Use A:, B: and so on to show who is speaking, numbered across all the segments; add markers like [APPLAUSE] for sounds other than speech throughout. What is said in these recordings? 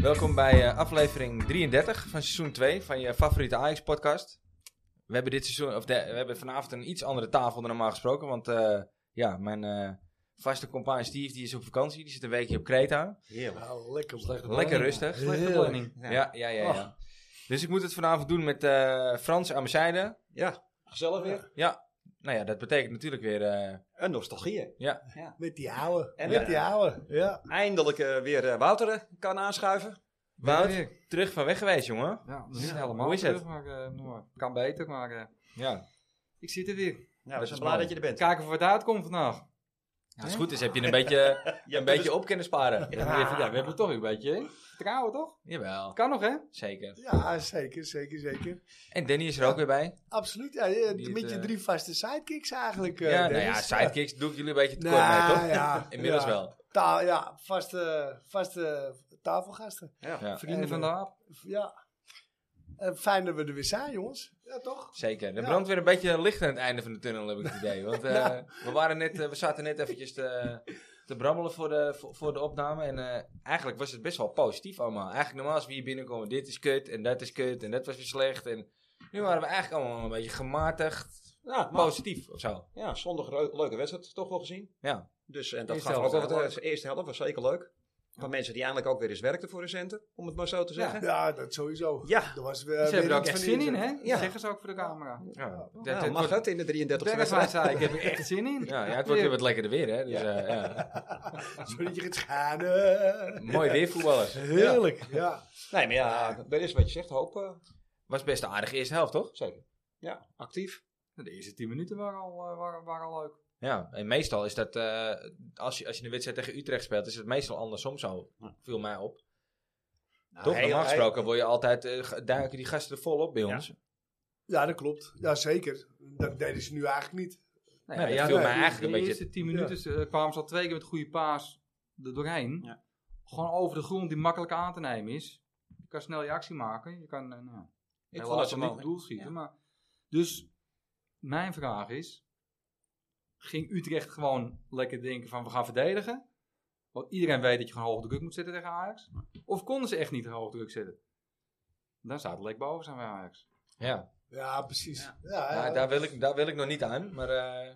A: Welkom bij eh, aflevering 33 van seizoen 2 van je favoriete Ajax-podcast. We hebben dit seizoen, of de- we hebben vanavond een iets andere tafel dan normaal gesproken. Want eh, ja, mijn eh, vaste compaan Steve die is op vakantie. Die zit een weekje op Kreta.
B: Heerlijk.
C: Nou, lekker.
A: Lekker rustig.
C: Heerlijk.
A: Ja, ja, ja. ja.
C: Och.
A: Dus ik moet het vanavond doen met eh, Frans aan mijn zijde.
B: Ja,
C: Gezellig
B: weer.
A: Nou ja, dat betekent natuurlijk weer. eh,
B: een nostalgie. hè.
C: Met die ouwe.
B: En
C: met
B: ja.
C: die ouwe. Ja.
B: Eindelijk eh, weer eh, Wouter eh, kan aanschuiven.
A: Wout, terug van weg geweest, jongen.
D: Ja, dat is
A: Ja,
D: niet helemaal
A: hoe is
D: terug,
A: het?
D: maar eh, nou, maar kan beter. Maar eh,
A: Ja.
D: ik zit er weer.
B: Nou, we
A: is
B: zijn
A: mooi.
B: blij dat je er bent.
D: Kijken of het uitkomt vandaag.
A: Als het goed is, heb je een
B: [LAUGHS]
A: beetje,
B: Je
A: een
B: hebt
A: beetje op kunnen sparen.
D: Ja, we hebben- ja, we hebben toch een beetje hè? vertrouwen, toch?
A: Jawel,
D: Kan nog, hè?
A: zeker.
C: ja, zeker, zeker, zeker.
A: En Danny is er ook weer bij.
C: Absoluut. Ja, ja,
A: Die
C: met
A: het,
C: je
A: eh,
C: drie vaste sidekicks eigenlijk. eh,
A: ja, nou
C: Dennis.
A: ja, sidekicks doe ik jullie een beetje tekort
C: Nou,
A: mee, toch?
C: ja,
A: [LAUGHS] Inmiddels
C: ja.
A: wel.
C: Ta- ja, vaste, vaste tafelgasten.
B: Ja.
A: Ja.
D: Vrienden
C: En,
D: van de
C: eh,
D: aap.
C: Ja. Eh, fijn dat we er weer zijn, jongens. Ja, toch?
A: Zeker. Er
C: Ja.
A: brandt weer een beetje licht aan het einde van de tunnel, heb ik het idee. Want eh,
C: Ja.
A: we, waren net, eh, we zaten net eventjes te, te brabbelen voor de, voor, voor de opname. En eh, eigenlijk was het best wel positief allemaal. Eigenlijk normaal als we hier binnenkomen, dit is kut en dat is kut en dat was weer slecht. En nu waren we eigenlijk allemaal een beetje gematigd,
B: Ja, maar-
A: positief of zo.
B: ja, zondag reu- leuke wedstrijd toch wel gezien.
A: Ja.
B: Dus en dat
D: Eerste
B: gaf ook
D: helft
B: wel
D: was
B: wat uit. De eerste helft was zeker leuk. Van mensen die eindelijk ook weer eens werkten voor hun centen, om het maar zo te zeggen.
C: Ja, dat sowieso.
B: Ja.
C: Dat was
D: Ze
C: weer,
D: hebben
C: weer
D: er ook
C: iets
D: echt
C: van
D: zin in,
C: inzet.
D: hè?
B: Ja.
D: Dat zeggen ze ook voor de camera.
A: ja. Dat,
B: Nou,
A: het
B: mag
A: wordt-
B: het in de 33e
D: Bergwijn
B: wedstrijd? [LAUGHS]
D: zei, ik heb er echt zin in.
A: [LAUGHS] Ja, ja, het wordt weer wat lekkerder weer, hè? Dus, eh, ja.
C: Zodat je gaat schaden.
A: Mooi weer voetballers.
C: Heerlijk. Ja.
B: Nee, maar ja, dat is wat je zegt, hoop eh,
A: Was best een aardige eerste helft, toch?
B: zeker. Ja, actief.
D: Nou, De eerste 10 minuten waren al, eh, waren, waren al leuk.
A: Ja, en meestal is dat, eh, als, je, als je een wedstrijd tegen Utrecht speelt, is het meestal andersom zo, viel mij op.
B: Nou,
A: Toch?
B: heel-
A: Normaal gesproken word je altijd, eh, g- duiken die gasten er vol op bij
B: Ja.
A: ons.
C: ja, dat klopt. Ja, zeker. Dat deden ze nu eigenlijk niet.
D: Nee,
A: Nee,
D: dat
A: ja,
D: viel
C: nee,
D: mij
C: die-
A: die
D: eigenlijk een beetje.
A: eerste
D: De eerste 10 minuten eh, kwamen ze al twee keer met goede paas er doorheen.
B: Ja.
D: Gewoon over de grond die makkelijk aan te nemen is. Je kan snel je actie maken. Je kan eh, nou, ja,
B: Ik
D: heel
B: vond dat
D: hard
B: ze
D: omhoog het
B: niet...
D: doel schieten.
B: ja.
D: Maar, dus mijn vraag is, ging Utrecht gewoon lekker denken van we gaan verdedigen? Want iedereen weet dat je gewoon hoog druk moet zetten tegen Ajax. Of konden ze echt niet hoog druk zetten? Dan zou het lek boven zijn bij Ajax.
A: Ja,
C: Ja, precies.
B: Ja.
C: Ja, ja,
D: Eh,
A: Nou, daar, wil ik, daar wil ik nog niet aan, maar... eh,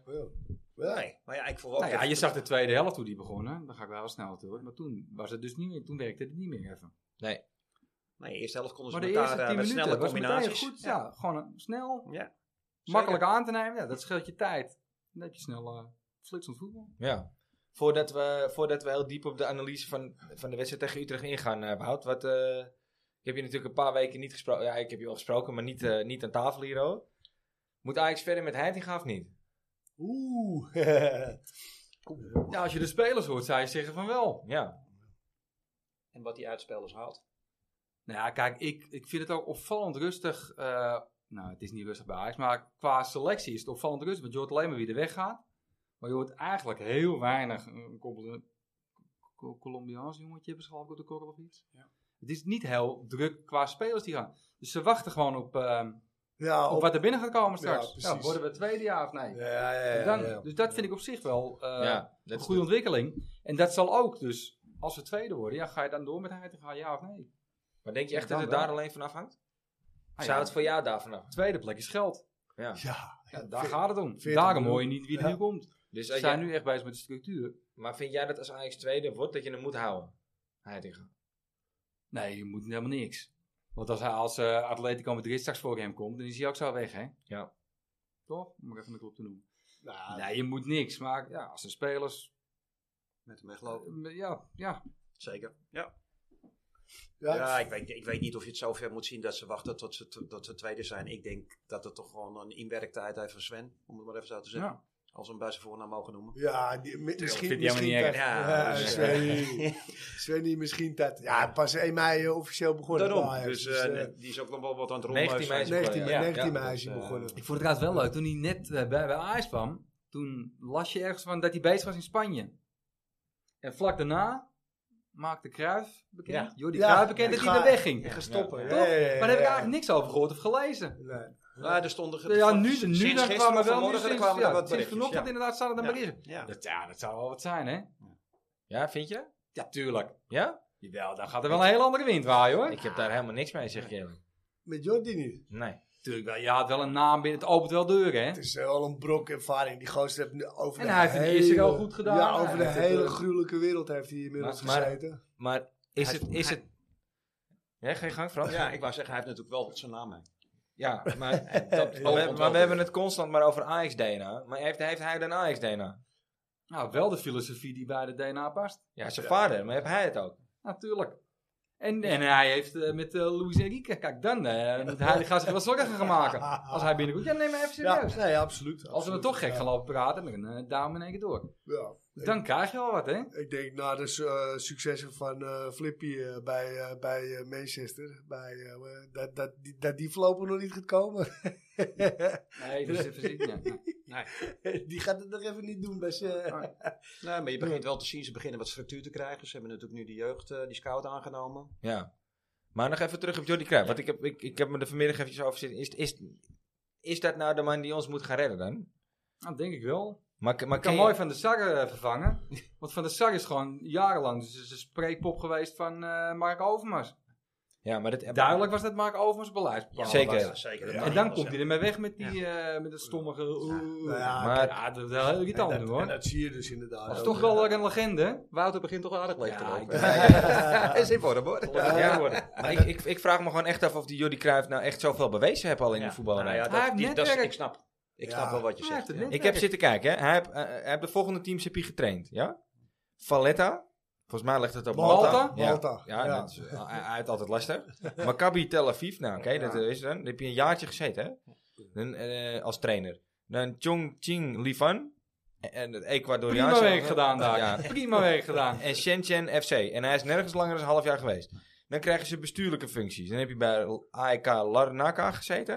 C: Ja.
B: Nee, maar ja, ik vond wel...
D: Nou ja,
B: dat-
D: je zag de tweede helft hoe die begonnen. Dan ga ik wel heel snel natuurlijk. Maar toen was het dus niet meer. Toen werkte het niet meer even.
B: Nee, de eerste helft konden ze
D: Maar de
B: met
D: eerste
B: daar, eh,
D: 10
B: met snelle
D: minuten was meteen
B: combinaties.
D: goed. Ja, gewoon een- snel,
B: Ja.
D: makkelijk aan te nemen. Ja, dat scheelt je tijd. Dan heb je snel eh flitsend voetbal.
A: Ja. Voordat we, voordat we heel diep op de analyse van, van de wedstrijd tegen Utrecht ingaan, eh Wout. Wat, eh, ik heb je natuurlijk een paar weken niet gesproken. Ja, ik heb je wel gesproken, maar niet, eh, niet aan tafel hier hoor. Moet Ajax verder met Heitinga of niet?
C: Oeh.
D: Ja, als je de spelers hoort, zou je zeggen van wel.
A: Ja.
B: En wat die uitspelers haalt.
D: Nou ja, kijk, ik, ik vind het ook opvallend rustig. eh, nou, het is niet rustig bij Ajax, maar qua selectie is het opvallend rustig. Want je hoort alleen maar wie er weggaat. Maar je hoort eigenlijk heel weinig. eh, Een Col- Col- Colombiaans jongetje hebben ze geloof ik op de korrel of iets. Het is niet heel druk qua spelers die gaan. Dus ze wachten gewoon op... ehm,
C: Ja,
D: op,
C: op,
D: wat er binnen gaat komen straks.
C: Ja,
D: Ja,
C: precies.
D: worden we tweede jaar of nee?
C: ja, ja, ja,
D: En dan,
C: ja.
D: Dus dat vind ik op zich wel eh,
A: ja,
D: een
A: dat
D: goede ontwikkeling. En dat zal ook dus, als we tweede worden, ja, ga je dan door met hij te gaan, ja of nee?
A: Maar denk je echt
D: Dan
A: dat het
D: wel.
A: daar alleen van afhangt?
D: Ah,
A: Zou
D: ja,
A: het voor jou daar vanaf?
D: Tweede plek is geld.
A: Ja.
C: Ja,
D: Ja, daar
C: vind-
D: gaat het om.
C: veertien
D: Daarom
C: miljoen.
D: hoor je niet wie er
C: Ja.
D: nu komt.
A: Dus
D: Ze
A: als
D: zijn
A: jij-
D: nu echt bezig met de structuur.
A: Maar vind jij dat als Ajax tweede wordt, dat je hem moet houden? Heitinga.
D: Nee, je moet helemaal niks. Want als, hij- als eh Atletico Madrid straks voor hem komt, dan is hij ook zo weg, hè?
A: Ja.
D: Toch? Om er even een klop te noemen.
C: Nou,
D: Nee, je moet niks. Maar ja, als de spelers... Eh,
B: Met hem weglopen.
D: Ja, ja.
B: Zeker. Ja,
C: ja,
B: ja ik, weet, ik weet niet of je het zover moet zien dat ze wachten tot ze, t- dat ze tweede zijn. Ik denk dat het toch gewoon een inwerktijd heeft van Sven. Om het maar even zo te zeggen.
D: ja.
B: Als we hem bij zijn voornaam mogen noemen.
C: ja, die- mi-
D: vind
C: misschien,
D: ik helemaal
C: misschien
D: niet
C: dat.
D: erg.
C: Ja,
B: dus,
C: Svenny,
B: eh,
C: Svenny, misschien dat. Ja, pas 1 mei eh, officieel begonnen. bij
B: Daarom.
C: Ajax.
B: Dus eh, die is ook nog wel wat aan het
A: 19 mei
B: rondlezen.
A: is het
C: 19
A: begonnen,
C: mei
A: ja. Ja.
C: 19 mei is hij
B: Dus, eh,
C: begonnen.
D: Ik vond het trouwens wel leuk. Toen hij net eh, bij, bij Ajax kwam, toen las je ergens van dat hij bezig was in Spanje. En vlak daarna maakte Cruijff bekend,
B: Ja.
D: Jordi
C: Ja,
D: Cruijff bekend dat
C: ik
D: hij
C: ga-
D: weer wegging.
C: Ik ga
D: Toch?
C: stoppen.
A: Ja.
C: Ja, ja, ja,
D: Maar daar heb ik
C: ja.
D: eigenlijk niks over gehoord of gelezen.
C: Nee.
B: Ja, Ah, er stonden...
D: Ja, nu, nu
B: sinds
D: dan
B: gisteren
D: kwamen
B: of
D: wel nu
B: vanmorgen, er
D: sinds,
B: kwamen er
D: ja,
B: wat
D: sinds
B: berichtjes.
D: vanochtend
B: Ja.
D: inderdaad staan er dan
B: Ja.
D: berichten.
B: Ja.
D: Dat, ja, dat zou wel wat zijn, hè?
A: Ja, vind je?
D: Ja, tuurlijk.
A: Ja?
D: Jawel, daar gaat er wel een heel andere wind waaien hoor.
A: Ik heb daar helemaal niks mee, zeg ik eerlijk.
C: Met Jordi nu.
A: Nee.
D: Natuurlijk wel. Ja, het wel een naam binnen. Het opent wel deuren, hè?
C: Het is eh, wel een brok ervaring. Die gozer heeft nu over
D: En
C: de
D: hij heeft het
C: hele-
D: eerst ook goed gedaan.
C: Ja, over de
D: Hij heeft
C: hele
D: het, eh,
C: gruwelijke wereld heeft hij inmiddels
A: Maar- maar-
C: gezeten.
A: Maar is
B: Hij-
A: het... Is het... Ja, geen gang, Frans?
B: Ja, ik wou zeggen, hij heeft natuurlijk wel zijn naam mee.
A: [LAUGHS] Ja, maar,
B: En dat
A: maar, we,
B: ontwelt
A: maar we
B: weer.
A: hebben het constant maar over Ajax-DNA. Maar heeft, heeft hij dan Ajax-DNA?
D: Nou, wel de filosofie die bij de DNA past.
A: Ja, zijn
B: Ja.
A: vader. Maar heeft hij het ook?
D: Natuurlijk. En, en hij heeft eh, met eh Luis Enrique, kijk dan, eh, moet hij gaat zich wel zorgen gaan maken. Als hij binnenkomt, ja neem maar even
C: Ja,
D: serieus.
C: nee, absoluut.
D: Als we dan
C: absoluut.
D: toch gek
C: Ja,
D: gaan lopen praten, dan eh duimen we in één keer door.
C: Ja.
D: Dan krijg je wel wat, hè?
C: Ik denk na de su- eh, successen van eh, Flippy eh, bij, eh, bij eh, Manchester, bij, eh, dat, dat, die, dat die voorlopig nog niet gaat komen.
D: [LAUGHS] Nee, dus even zitten. ja.
C: die gaat het nog even niet doen bij zijn.
B: Nee, maar je begint wel te zien, ze beginnen wat structuur te krijgen. Ze hebben natuurlijk nu de jeugd, eh, die scout aangenomen.
A: Ja. Maar nog even terug op Jordi Cruijff. Want ik heb, ik, ik heb me er vanmiddag eventjes over zitten. Is, is, is dat nou de man die ons moet gaan redden dan?
D: Nou, denk ik wel.
A: Maar, maar
D: Ik kan
A: je-
D: mooi Van de Sar eh, vervangen. Want Van de Sar is gewoon jarenlang dus een spreekpop geweest van eh Mark Overmars.
A: Ja, maar dat,
D: Duidelijk was dat Mark Overmars
A: Ja,
D: beleid.
A: zeker.
B: Ja, zeker. dat
C: Ja.
B: mag
D: En dan
B: niet
D: komt
B: anders,
D: hij ermee weg met, die, eh, met dat stommige...
C: Nou ja,
A: Maar-
D: maar, ja, dat is wel heel irritant
C: en,
D: nu,
C: dat,
D: hoor.
C: en dat zie je dus inderdaad.
D: Dat is
C: ook.
D: toch wel weer een legende, hè?
B: hè. Wouter begint toch aardig leeg te
D: Ja,
B: lopen.
D: ik-
B: Hij [LAUGHS] is in vorm hoor.
A: Ja, ja, maar ik, ik, ik vraag me gewoon echt af of die Jordi Cruijff nou echt zoveel bewezen heeft al in
B: Ja.
A: de voetballerij.
B: Nou ja,
D: Hij heeft
B: dat, die, dat is-
D: netwerk.
B: ik snap. Ik
C: Ja.
B: snap wel wat je
D: Ja,
B: zegt.
D: hij
B: ja.
D: heeft het
A: Ik heb zitten kijken, hè. Hij heeft, eh, hij heeft de volgende teams heb hij getraind, ja? Valletta. Volgens mij ligt het op Malta.
D: Malta?
A: Ja,
C: Malta,
A: Ja,
C: ja.
A: dat is eh, uit altijd lastig. Maccabi Tel Aviv, nou oké, dat is dan. Dan heb je een jaartje gezeten, hè? Dan, eh, als trainer. Dan Chongqing Livan. En het Ecuadoriaanse.
D: Prima werk gedaan daar.
A: Ja.
D: Prima werk gedaan.
A: En Shenzhen FC. En hij is nergens langer dan een half jaar geweest. Dan krijgen ze bestuurlijke functies. Dan heb je bij AEK Larnaca gezeten.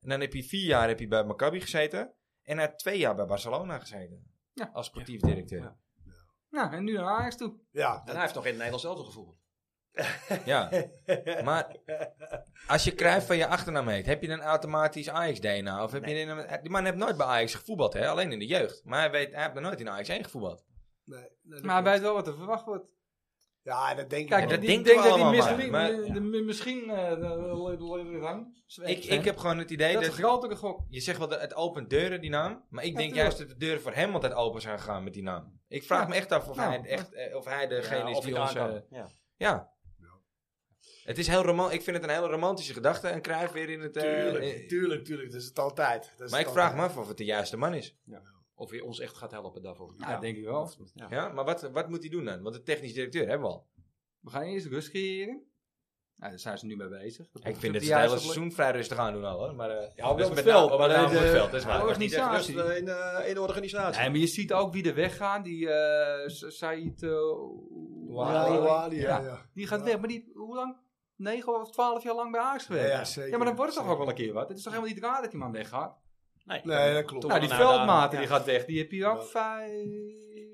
A: En dan heb je vier jaar heb je bij Maccabi gezeten. En hij heeft twee jaar bij Barcelona gezeten.
D: Ja.
A: Als sportief directeur.
B: Ja.
D: Nou, en nu naar Ajax toe.
C: Ja,
B: En hij heeft nog in het Nederlands zelf gevoel.
A: Ja,
D: [LAUGHS]
A: maar als je Cruijff van je achternaam heet, heb je dan automatisch Ajax-DNA? Of heb je dan, die man heeft nooit bij Ajax gevoetbald, hè? alleen in de jeugd. Maar hij, weet, hij heeft nog nooit in Ajax 1 gevoetbald.
C: nee, nee, dat
D: Maar hij
C: klopt.
D: weet wel wat er verwacht wordt.
C: Ja, dat denk
D: Kijk,
C: ik
A: dat
C: wel.
D: ik
A: denken
D: denk
A: we
D: dat hij
A: allemaal
D: misschien...
A: maar,
D: de- de- Misschien... eh, de- de- de- de- hang.
A: Ik, ik heb gewoon het idee
D: Dat
A: dat...
D: is een grotere gok.
A: je zegt wel, dat het opent deuren, die naam. Maar ik
D: Ja,
A: denk
D: tuurlijk.
A: juist dat de deuren voor hem altijd open zijn gegaan met die naam. Ik vraag
D: Ja.
A: me echt af of,
D: Nou,
A: hij, echt, eh, of hij degene
B: Ja,
A: is
B: of
A: die
B: hij
A: ons...
B: daar
A: eh,
B: kan. Ja.
A: ja. Het is heel roman ik vind het een hele romantische gedachte. En Cruijff weer in het... eh,
C: Tuurlijk,
A: eh,
C: tuurlijk, tuurlijk. Dat is het altijd. Dat is
A: maar ik
C: het
A: vraag me
C: altijd.
A: af of het de juiste man is.
B: Of hij ons echt gaat helpen daarvoor.
D: Nou, dat denk ik wel.
B: Ja.
A: Ja, maar wat, wat moet hij doen dan? Want de technisch directeur hebben we al.
D: We gaan eerst rust creëren. Nou, daar zijn ze nu mee bezig.
A: ik vind het
D: de
A: hele
D: juiste
A: seizoen vrij rustig aan doen al hoor. Maar, eh,
D: Ja, wel
A: dus
D: op
A: met
D: het veld,
A: name- met
D: maar
A: name
D: de-
A: op het veld, dat is
D: de
A: waar.
B: Niet echt rust
D: organisatie.
B: eh, in, eh, in de organisatie.
D: Nee, maar je ziet ook wie er weggaan. Die eh S- Said... eh,
C: Ja,
A: Wali.
C: Wali, ja,
D: Ja.
C: ja.
D: Die gaat weg. Maar die... Hoe lang? 9 of 12 jaar lang bij Ajax
C: Ja,
D: gewerkt.
C: zeker.
D: Ja, maar dan wordt het toch ook wel een keer wat. Het is toch helemaal niet raar dat die man weggaat?
C: Nee, dat klopt.
B: Toch
D: nou, die
B: wel een uitdaging,
D: veldmaten die
B: ja.
D: gaat weg. Die heb je ook
C: Ja.
D: vijf...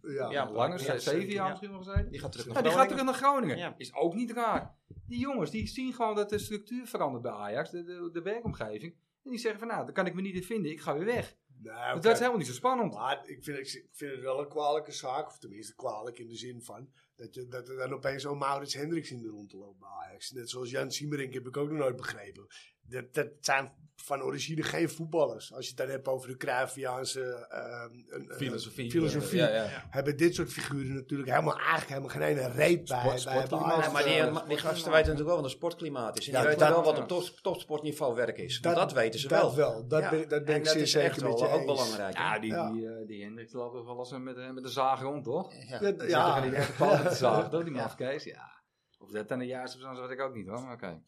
C: Ja,
D: Ja, langer.
B: ja,
D: ze- zeven
B: zeker,
D: jaar
B: ja.
D: misschien wel gezeten.
B: Die gaat terug naar
D: Nou, die gaat
B: Groningen.
D: terug naar Groningen.
B: Ja.
D: Is ook niet raar. Die jongens, die zien gewoon dat de structuur verandert bij Ajax. De, de, de werkomgeving. En die zeggen van, nou, daar kan ik me niet in vinden. Ik ga weer weg.
C: Nee,
D: Want
C: oké.
D: dat is helemaal niet zo spannend.
C: Nou, Maar ik vind, ik vind het wel een kwalijke zaak, of tenminste kwalijk in de zin van dat, je, dat er dan opeens zo'n Maurits Hendricks in de rondte loopt bij Ajax. Net zoals Jan Siemerink heb ik ook nog nooit begrepen. Dat, dat zijn van origine geen voetballers. Als je het dan hebt over de Cruyffiaanse ehm, een- een-
A: Filosofie.
C: filosofie
A: Ja, ja.
C: hebben dit soort figuren natuurlijk helemaal, eigenlijk helemaal geen ene reet bij. bij- bij
B: Ja,
C: Ajax.
B: maar die,
C: Eh,
B: eh, die gasten weten natuurlijk wel wat een sportklimaat is. En die
C: Ja,
B: weten
C: dat-
B: wel wat op top, topsportniveau werk is. Dat, weten ze
C: dat
B: wel.
C: wel. Dat
B: Ja.
C: ben, dat ben
B: en
C: ik
B: dat
C: zeer
B: is
C: zeker
B: echt
C: met
B: wel
C: je
B: ook
C: eens.
B: belangrijk. hè?
D: Ja, die,
C: Ja.
D: die, eh, die Hendricks loopt toch wel eens eh, met, eh, met de zaag rond, toch?
B: Ja.
C: Ja,
D: Die zit toch
C: ja.
D: in die echte paal met de zaag, toch? Die mafkees, ja. Of dat dan de juiste persoon is, weet ik ook niet, hoor. Maar oké.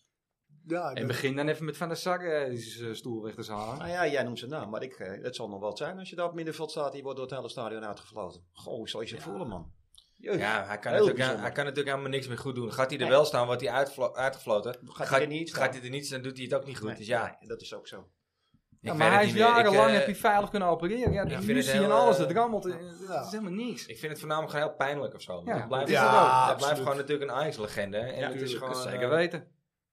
C: ja,
D: En
C: dat-
D: begin dan even met Van der Sar eh, die is, eh, stoel weg te zalen.
B: Nou ja, jij noemt zijn naam, maar ik, eh, het zal nog wat zijn als je daar op middenveld staat. Die wordt door het hele stadion uitgefloten. Goh, zo is het voelen, man. Jeugd.
A: Ja, hij kan,
B: Heel
A: natuurlijk,
B: bijzonder.
A: hij kan natuurlijk helemaal niks meer goed doen. Gaat hij er
B: Nee.
A: wel staan, wordt hij uitvlo- uitgefloten.
B: Gaat hij er niet staan?
A: Gaat hij er niet staan, doet hij het ook niet goed.
B: Nee,
A: Dus ja,
B: nee, dat is ook zo.
A: ik
D: Ja,
A: weet
D: maar
A: het
D: hij is
A: niet meer. Ik,
D: jarenlang
A: eh,
D: heb je veilig kunnen opereren. Ja,
A: ik
D: die
A: vind het
D: muzie
A: heel,
D: en alles,
A: eh,
D: dat rammelt. eh, Het
C: ja.
D: is helemaal niks.
A: Ik vind het voornamelijk gewoon heel pijnlijk of zo. Want
D: Ja,
A: het blijft,
C: ja,
A: het blijft
C: absoluut.
A: gewoon natuurlijk een Ajax-legende. hè. En
B: Ja,
A: het is gewoon...
D: Zeker
A: eh,
D: weten.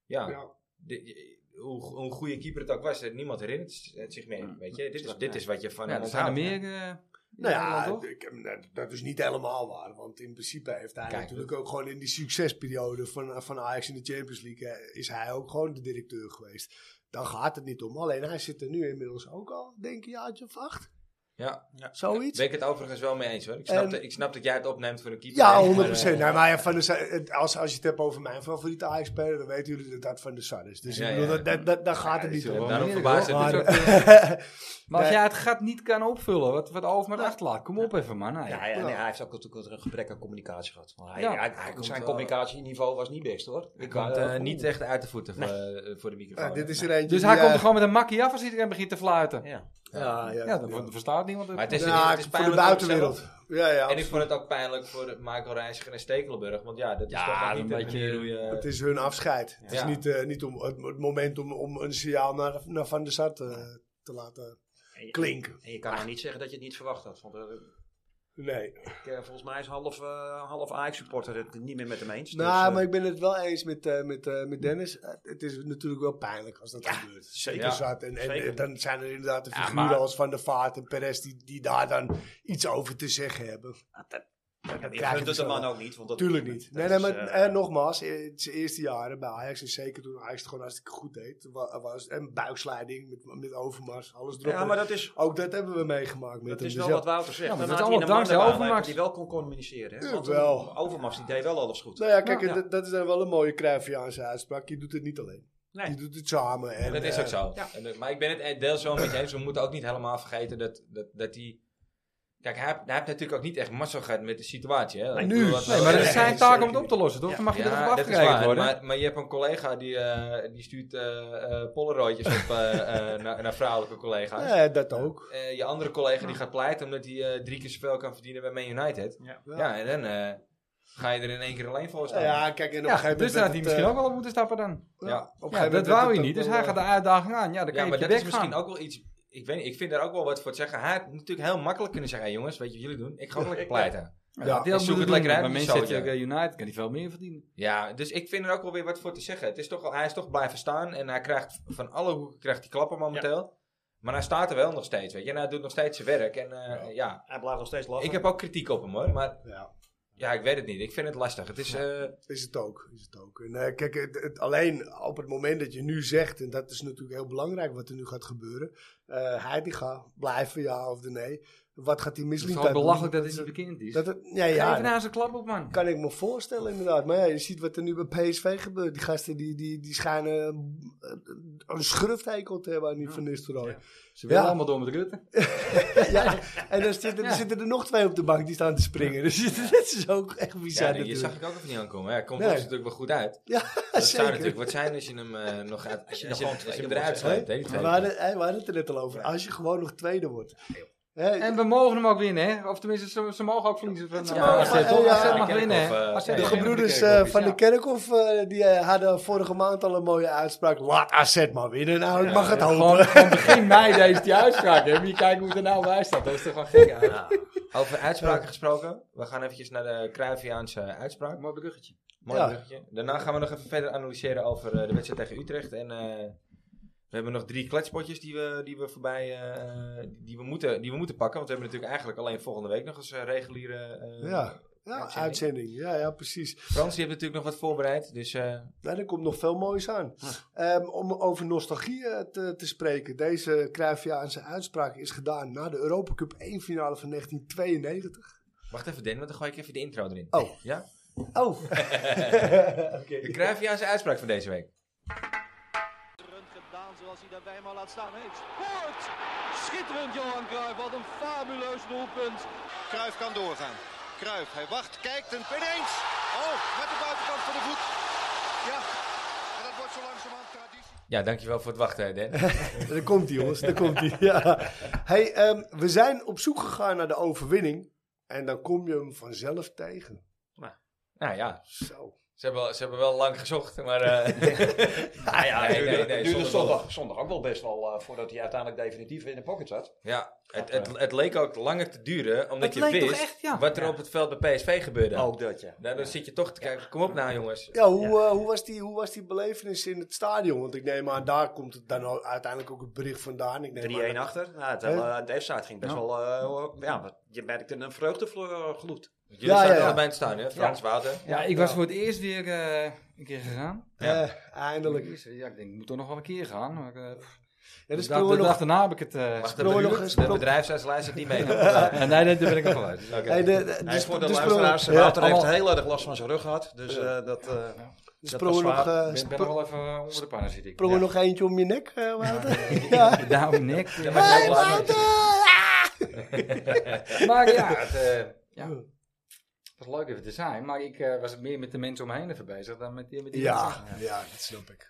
A: ja,
C: ja.
A: de- hoe, hoe een goede keeper het ook was, eh, niemand herinnert het zich meer.
D: Ja.
A: Weet je? Dit, is,
B: Straks,
A: dit
B: nee.
A: is wat je van
D: Ja,
A: hem
D: er zijn er
A: onthoudt.
D: meer. eh,
C: Nou ja,
D: Nederland, toch?
C: ik, nou, dat is niet helemaal waar. Want in principe heeft hij
A: Kijk,
C: natuurlijk ook gewoon in die succesperiode van, van Ajax in de Champions League... eh, is hij ook gewoon de directeur geweest. Dan gaat het niet om. Alleen hij zit er nu inmiddels ook al, denk ik, een jaartje of acht.
A: Ja.
C: Zoiets.
A: Ben ik het overigens wel mee eens hoor. Ik snap,
C: En-
A: dat- ik snap dat jij het opneemt voor een keeper.
C: Ehm, Ja,
A: Maar,
C: 100
A: eh,
C: Nou, maar ja, van de, Sar- het- als, als je het hebt over mijn favoriete Ajax-speler, dan weten jullie dat dat van de Sar is. Dus
A: Ja,
C: ik bedoel,
A: ja.
C: dat, dat, dat, daar gaat het
D: Ja,
C: niet
D: dat is
C: om.
D: wel
C: [LAUGHS]
A: Daarom
D: eerlijk,
A: Nou, verbaast
D: hoor.
A: het
D: Maar, eh,
A: me
D: maar als
C: Nee.
D: jij het gat niet kan opvullen, wat, wat over maar achterlaat, kom op even man. Nou ja.
B: Ja, ja, nee, hij heeft ook natuurlijk een gebrek aan communicatie gehad. Maar hij,
D: Ja.
B: hij-
A: Hij komt
B: zijn
A: wel-
B: communicatieniveau was niet best hoor.
A: Ik
B: Ik
A: kan
B: wou-
A: het eh,
B: eh,
A: niet echt uit de voeten voor, eh, voor de microfoon.
C: Ja, dit is er eentje.
D: Dus
C: die,
D: hij komt
C: eh,
D: er gewoon met een makkie af als iedereen begint te fluiten.
B: Ja.
C: Ja, ja,
D: Ja, dan verstaat niemand het.
A: Maar het is,
C: Ja,
A: het is
C: voor de
A: pijnlijk voor mezelf.
C: buitenwereld. Ja, ja.
A: En ik vond het ook pijnlijk voor Michael Reiziger en Stekelenburg. Want ja, dat is
D: Ja,
A: toch ook
D: een
A: niet de
D: beetje-
A: manier hoe je...
C: Het is hun afscheid. Het is
A: Ja.
C: niet, eh, niet om, het, het moment om, om een signaal naar, naar Van der Sar te, te laten
B: En je-
C: klinken.
B: En je kan nou niet zeggen dat je het niet verwacht had. Want eh,
C: Nee.
B: ik, eh, volgens mij is half, eh, half Ajax supporter het niet meer met hem eens. Dus,
C: nou,
B: eh,
C: maar ik ben het wel eens met, eh, met, eh, met Dennis. Eh, het is natuurlijk wel pijnlijk als dat gebeurt. Zeker
A: Ja,
C: zat. En, en,
B: zeker.
C: en dan zijn er inderdaad de
D: Ja,
C: figuren
D: maar-
C: als Van der Vaart en Perez die, die daar dan iets over te zeggen hebben.
B: ik
C: krijg je
B: gun het de
C: zo.
B: man ook niet. Want dat,
C: Tuurlijk niet.
B: dat
C: Nee,
B: is,
C: nee, maar
B: eh,
C: eh, nogmaals, eh, het zijn eerste jaren bij Ajax en zeker toen Ajax het gewoon hartstikke goed deed. wa- Was, en buiksleiding met, met Overmars, alles erop.
B: Ja, maar dat is,
C: Ook dat hebben we meegemaakt met
B: dat
C: hem.
B: is
C: Dus
B: wel
C: ja.
B: wat Wouter zegt.
D: Ja, maar
B: Dan
D: dat
B: had hij een
D: is allemaal
B: man
D: dankzij
B: erbij
D: Overmars.
B: lijken die wel kon communiceren. Hè? Want, eh,
C: Jawel.
B: Overmars die deed wel alles goed.
C: Nou ja, kijk,
B: Ja.
C: en Dat, dat is dan wel een mooie Cruyffiaanse uitspraak. Je doet het niet alleen.
B: Nee.
C: Je doet het samen. En,
A: dat is
C: eh,
A: ook zo.
B: ja.
A: En, eh, maar ik ben het eh, deels wel met je eens. We moeten ook niet helemaal vergeten dat, dat, dat die... Kijk, hij, heeft- hij heeft natuurlijk ook niet echt massa gehad met de situatie. Hè?
C: Nee,
A: Ik
C: nu.
A: bedoel, wat-
D: Nee, maar het
C: Nee,
D: is zijn
C: nee,
D: taak om
C: zeker
D: het op te lossen, toch? Dan mag je er erop
A: dat is
D: afgerekend
A: waar,
D: worden.
A: Maar, maar je hebt een collega die, eh, die stuurt eh, eh, polaroidjes op eh, eh, [LAUGHS] naar, naar vrouwelijke collega's.
C: ja, dat ook.
A: Eh, je andere collega die gaat pleiten omdat hij eh, drie keer zoveel kan verdienen bij Man United.
B: Ja.
A: Ja, en dan eh, ga je er in één keer alleen voor
C: Ja,
A: staan.
C: kijk, en op een
D: Ja,
C: gegeven moment... werd
D: dus daar had hij
C: het,
D: misschien
C: eh,
D: ook wel op moeten stappen dan.
C: ja, op een gegeven
D: Ja,
C: moment
D: dat
C: werd
D: wou
C: het
D: je
C: ook
D: niet, dus
C: wel,
D: hij
C: eh,
D: gaat de uitdaging aan. Ja, dan
A: Ja,
D: kan
A: maar
D: je
A: dat is
D: weg
A: misschien
D: gaan.
A: ook wel iets. Ik, weet, niet, ik vind daar ook wel wat voor te zeggen. Hij had natuurlijk heel makkelijk kunnen zeggen: hey jongens, weet je wat jullie doen? Ik ga ook
D: [LAUGHS]
A: lekker pleiten.
C: Ja,
D: Ja,
A: ik zoek het lekker uit,
D: Maar
A: die
D: Manchester
A: zootje.
D: eh, United kan die veel meer verdienen.
A: Ja, dus ik vind er ook wel weer wat voor te zeggen. Het is toch, al- hij is toch blijven staan en hij krijgt van alle hoeken krijgt hij klappen momenteel. Maar hij staat er wel nog steeds, weet je. En hij doet nog steeds zijn werk. En eh, ja.
B: Hij blijft nog steeds lachen.
A: ik heb ook kritiek op hem hoor. Maar
C: Ja,
A: ja, ik weet het niet. Ik vind het lastig. Het is. eh,
C: is het ook. Is het ook. En, eh, kijk, het, het- alleen op het moment dat je nu zegt, en dat is natuurlijk heel belangrijk wat er nu gaat gebeuren. eh Heidinga, blijven ja of de nee. Wat gaat die
D: Het is
C: misliep
D: gewoon belachelijk dat het niet bekend is.
C: Dat het, ja,
D: Geef
C: ja,
D: even naast een klap op, man.
C: Kan ik me voorstellen, inderdaad. Maar ja, je ziet wat er nu bij PSV gebeurt. Die gasten die, die, die schijnen eh, een schurfthekel te hebben aan die Van Nistelrooy.
D: Ze willen
C: Ja.
D: allemaal door met Rutte.
C: [LAUGHS] Ja. en dan zitten,
D: Ja.
C: er zitten er nog twee op de bank die staan te springen. Dus [LAUGHS] dat is ook echt bizar
A: ja, je zag
C: natuurlijk.
A: ik ook even niet aankomen. hè. Hij komt
C: Nee.
A: ons natuurlijk wel goed uit. Dat zou
C: Zeker.
A: natuurlijk wat zijn als je hem eh, nog uit. Als je,
B: nog
A: als je,
B: gewoon
A: als je hem
B: tweede
A: eruit
B: wordt, hè?
A: slijt. hè, die
C: We
A: tweede.
C: hadden, hey, we hadden het er net al over. Als je gewoon nog tweede wordt. Hè,
D: En we mogen hem ook winnen, hè? Of tenminste, ze, ze mogen ook verliezen. Van,
C: Ze
D: ja,
C: mogen-
D: AZ,
C: ja,
D: toch?
C: ja.
D: AZ mag
A: Ja,
D: winnen, hè?
A: of, eh,
D: AZ
A: de
D: mag
C: de
D: winnen.
C: gebroeders
D: Kerkhoff
C: eh,
D: is-
C: van de
D: ja.
C: Kerkhof eh, die eh, hadden vorige maand al een mooie uitspraak. Laat AZ maar winnen. Nou, ik mag het
D: Gewoon,
C: [LAUGHS] hopen.
D: gewoon begin mei deze die uitspraak hebben. Je kijkt hoe het er nou bij staat. Dat is toch gewoon gek uit.
A: Over uitspraken gesproken. We gaan eventjes naar de Cruyffiaanse uitspraak.
D: Mooi bruggetje.
A: Mooi
C: Ja.
A: bruggetje. Daarna gaan we nog even verder analyseren over eh, de wedstrijd tegen Utrecht. En eh, we hebben nog drie kletspotjes die we, die we voorbij... eh, die, we moeten, die we moeten pakken. Want we hebben natuurlijk eigenlijk alleen volgende week nog eens eh, reguliere... eh,
C: Ja. Ja,
A: Uitzending.
C: uitzending. Ja, ja, precies.
A: Frans, die heeft natuurlijk nog wat voorbereid. Dus eh,
C: Nou, er komt nog veel moois aan. Ehm, om over nostalgie eh, te, te spreken. Deze Cruyffiaanse uitspraak is gedaan na de Europa Cup 1 finale van 1992.
A: wacht even Den, want dan gooi ik even de intro erin.
C: Oh.
A: Ja?
C: Oh.
A: De Cruyffiaanse uitspraak van deze week.
E: schitterend gedaan zoals hij daarbij maar laat staan heeft. Sport! Schitterend Johan Cruijff, wat een fabuleus doelpunt.
F: Kruif kan doorgaan. Kruif, hij wacht, kijkt en ineens. Oh, met de buitenkant van de voet. Ja, en dat wordt zo langzamerhand traditie.
A: Ja, dankjewel voor het wachten, Den.
C: daar komt hij, jongens. Daar komt hij. Ja. Hey, ehm, we zijn op zoek gegaan naar de overwinning. En dan kom je hem vanzelf tegen.
A: [LAUGHS] nou ja,
C: Zo.
A: Ze hebben, wel- ze hebben wel lang gezocht, maar... eh, [LAUGHS]
G: Ah ja,
A: Nee,
G: duurde,
A: nee, nee,
G: duurde
A: zondag wel.
G: zondag, zondag ook wel best wel eh, voordat hij uiteindelijk definitief in de pocket zat.
A: ja, het, het, het leek ook langer te duren, omdat
D: Het
A: je
D: leek toch
A: wist
D: echt, ja.
A: wat er
G: Ja.
A: op het veld bij PSV gebeurde.
G: Ook dat, ja.
A: Nou, dan zit je toch te kijken, kom op nou jongens.
C: Ja, hoe, eh, hoe, was die, hoe was die belevenis in het stadion? Want ik neem aan, daar komt het dan ook- uiteindelijk ook het bericht vandaan. Ik neem
G: 3-1
C: aan,
G: achter. Nou, het,
C: Hè?
G: hele- aan de F-side ging best
D: Ja.
G: wel... eh, ja, wat- je merkte een vreugdegloed.
A: Jullie
C: Ja,
A: staan
C: ja, ja.
A: allebei in het stadion, hè? Frans, Wouter.
D: Ja, ik was voor het eerst weer eh, een keer gegaan.
C: eh, eindelijk.
D: Eindelijk. Ja, ik denk, ik moet toch nog wel een keer gaan. Maar, eh,
C: Ja, dus
D: de dag,
C: springen
D: de
C: we
D: dag
C: nog...
D: daarna heb ik het... eh,
A: Wacht, de,
C: Sprongen nog
A: bedrijf,
C: eens,
A: de
C: sprong-
A: bedrijfsuitslijst zit niet mee. hè?
D: eh, nee, nee, daar ben ik nog wel uit.
C: Hey, de, de, de,
G: Hij is voor de
C: de
G: luisteraars.
C: sprongen-
G: Wouter heeft
D: allemaal-
G: heel erg last van zijn rug gehad. Dus eh, dat...
C: de
G: eh, dat
C: sprongen
G: was
C: nog,
G: zwaar.
C: eh,
D: Ik ben, ben nog wel even eh, onder de pannen zit ik.
C: sprongen nog eentje om je nek, eh, Wouter. [LAUGHS] Ja.
D: Daarom nek. eh,
A: maar
D: maar,
A: jij-
D: [LAUGHS] ja, het, eh, ja. Het was leuk even te zijn, maar ik eh, was meer met de mensen om me heen even bezig dan met die, met die
C: Ja, ja, dat snap ik.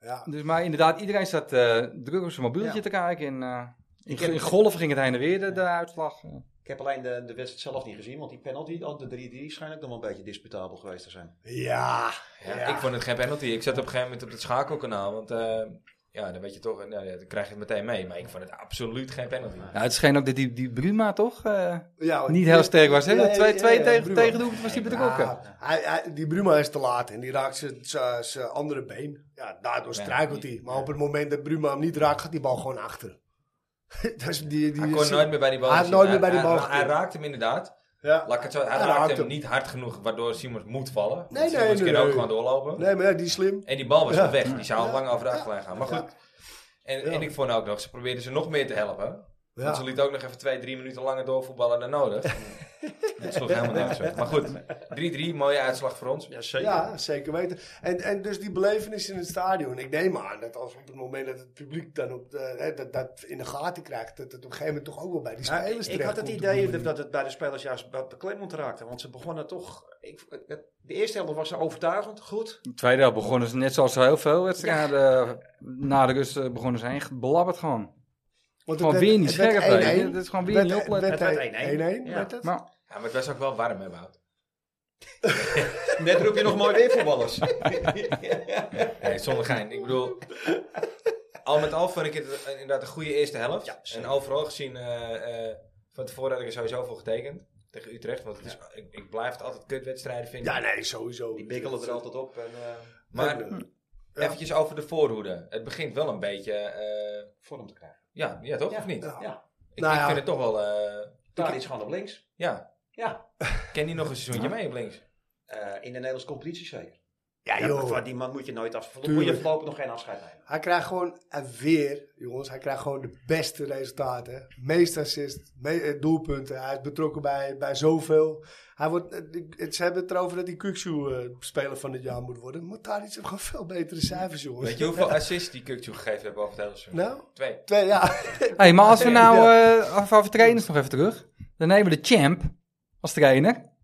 C: Ja.
D: Dus, maar inderdaad, iedereen zat eh, druk op zijn mobieltje
G: Ja.
D: te kijken. En, eh, in,
G: Ik heb-
D: in golven ging het heen en weer, de, de uitslag.
G: Ik heb alleen de, de wedstrijd zelf niet gezien, want die penalty, al de 3-3, schijnt ook nog wel een beetje disputabel geweest te zijn.
C: Ja.
A: Ja, Ik vond het geen penalty. Ik zat op een gegeven moment op het schakelkanaal, want eh, ja, dan weet je toch, nou, ja, dan krijg je het meteen mee. Maar ik vond het absoluut geen penalty.
D: Nou, het scheen ook dat die, die Bruma toch eh,
C: ja want-
D: niet heel sterk was.
C: Ja, ja,
D: Hè? Twee,
C: Oh, ja,
D: twee
C: ja,
D: tegen,
C: Bruma.
D: tegen de hoek was hij betrokken.
C: Ja, hij, hij- die Bruma is te laat en die raakt zijn- zijn zijn andere been. Ja, daardoor
A: Ja,
C: struikelt
A: die-
C: hij. Maar op het moment dat Bruma hem niet raakt, gaat die bal gewoon achter. [LAUGHS] dus die, die
A: Hij kon nooit meer bij die bal.
C: Hij had
A: zitten.
C: nooit meer bij die
A: Hij-
C: bal
A: hij- Hij
C: gezeten.
A: raakte hem inderdaad.
C: Ja.
A: Laat ik het zo, hij,
C: Hij
A: raakte,
C: raakte
A: hem
C: hem.
A: niet hard genoeg, waardoor Simons moet vallen. Want
C: Nee, nee,
A: Simons
C: nee,
A: kan ook
C: nee.
A: gewoon doorlopen.
C: Nee, maar ja, die is slim.
A: En die bal was
C: Ja.
A: al weg. Die zou al lang over de achterlijn gaan. Maar
C: Ja.
A: goed. En,
C: Ja.
A: en ik vond ook nog, ze probeerden ze nog meer te helpen.
C: Ja.
A: Want ze liet ook nog even twee, drie minuten langer doorvoetballen dan nodig.
G: [LAUGHS]
A: Het sloeg helemaal nergens op. Maar goed, 3-3, mooie uitslag voor ons.
G: Ja, zeker.
C: Ja, zeker weten. En, en dus die belevenis in het stadion. Ik neem aan dat als op het moment dat het publiek dan op de, hè, dat, dat in de gaten krijgt, dat het op een gegeven moment toch ook wel bij die spelers
G: ik had het
C: terechtkomt.
G: idee dat- dat het bij de spelers juist be- beklemmend raakte. Want ze begonnen toch... Ik, het- de eerste helft was overtuigend, goed.
D: De tweede helft begonnen ze net zoals heel veel wedstrijden. eh, Na de rust eh, begonnen ze heen, blabberd gewoon.
C: Want
D: Gewoon
C: het
D: weer
C: werd-
D: niet
C: het werd
D: scherp, hè.
C: 1-1.
D: Dat is gewoon weer
C: Het
D: niet
C: werd-
D: opletten.
C: Het
G: Het
C: werd
G: werd
C: 1-1,
G: 1-1, ja.
C: werd het?
D: Maar
A: Ja, maar het was ook wel warm, hè, Wout?
G: [LAUGHS] Net roep je nog mooi weer voetballers.
A: [LAUGHS] Nee, zonder gein. Ik bedoel, al met al vond ik het eh, inderdaad een goede eerste helft.
G: Ja, zeker.
A: en overal gezien, eh, eh, van tevoren had ik er sowieso voor getekend. Tegen Utrecht, want het is, ik, ik blijf het altijd kutwedstrijden vinden.
C: Ja, nee, sowieso.
G: Die bikkelen er altijd op. En, eh,
A: maar
C: Ja.
A: eventjes over de voorhoede. Het begint wel een beetje, eh,
G: vorm te krijgen.
A: ja, ja toch?
G: Ja.
A: Of niet?
C: Ja.
G: [LAUGHS] Ja,
A: Ik,
C: Nou
A: ik
C: ja.
A: vind het toch wel, eh,
G: daar iets gewoon op links.
A: ja.
G: Ja,
A: Ken die nog een seizoentje mee op links?
G: eh, in de Nederlandse competitie zeker.
C: Ja,
G: Ja,
C: joh.
G: van die man moet je nooit af. Moet
C: Tuurlijk.
G: je voorlopig nog geen afscheid nemen.
C: Hij krijgt gewoon en weer, jongens, hij krijgt gewoon de beste resultaten. Meest assist, me- eh, doelpunten. Hij is betrokken bij, bij zoveel. Hij wordt, eh, ik- het- ze hebben het erover dat hij Kuksu eh, speler van het jaar moet worden. Maar daar is gewoon [LAUGHS] veel betere cijfers, jongens.
A: Weet je hoeveel assists die Kukcu gegeven hebben over het hele seizoen?
C: [LAUGHS] Nou?
A: Twee.
C: Twee, ja. [LAUGHS]
D: Hey, maar als we nou, eh even over trainers nog even terug. Dan nemen we de champ als trainer.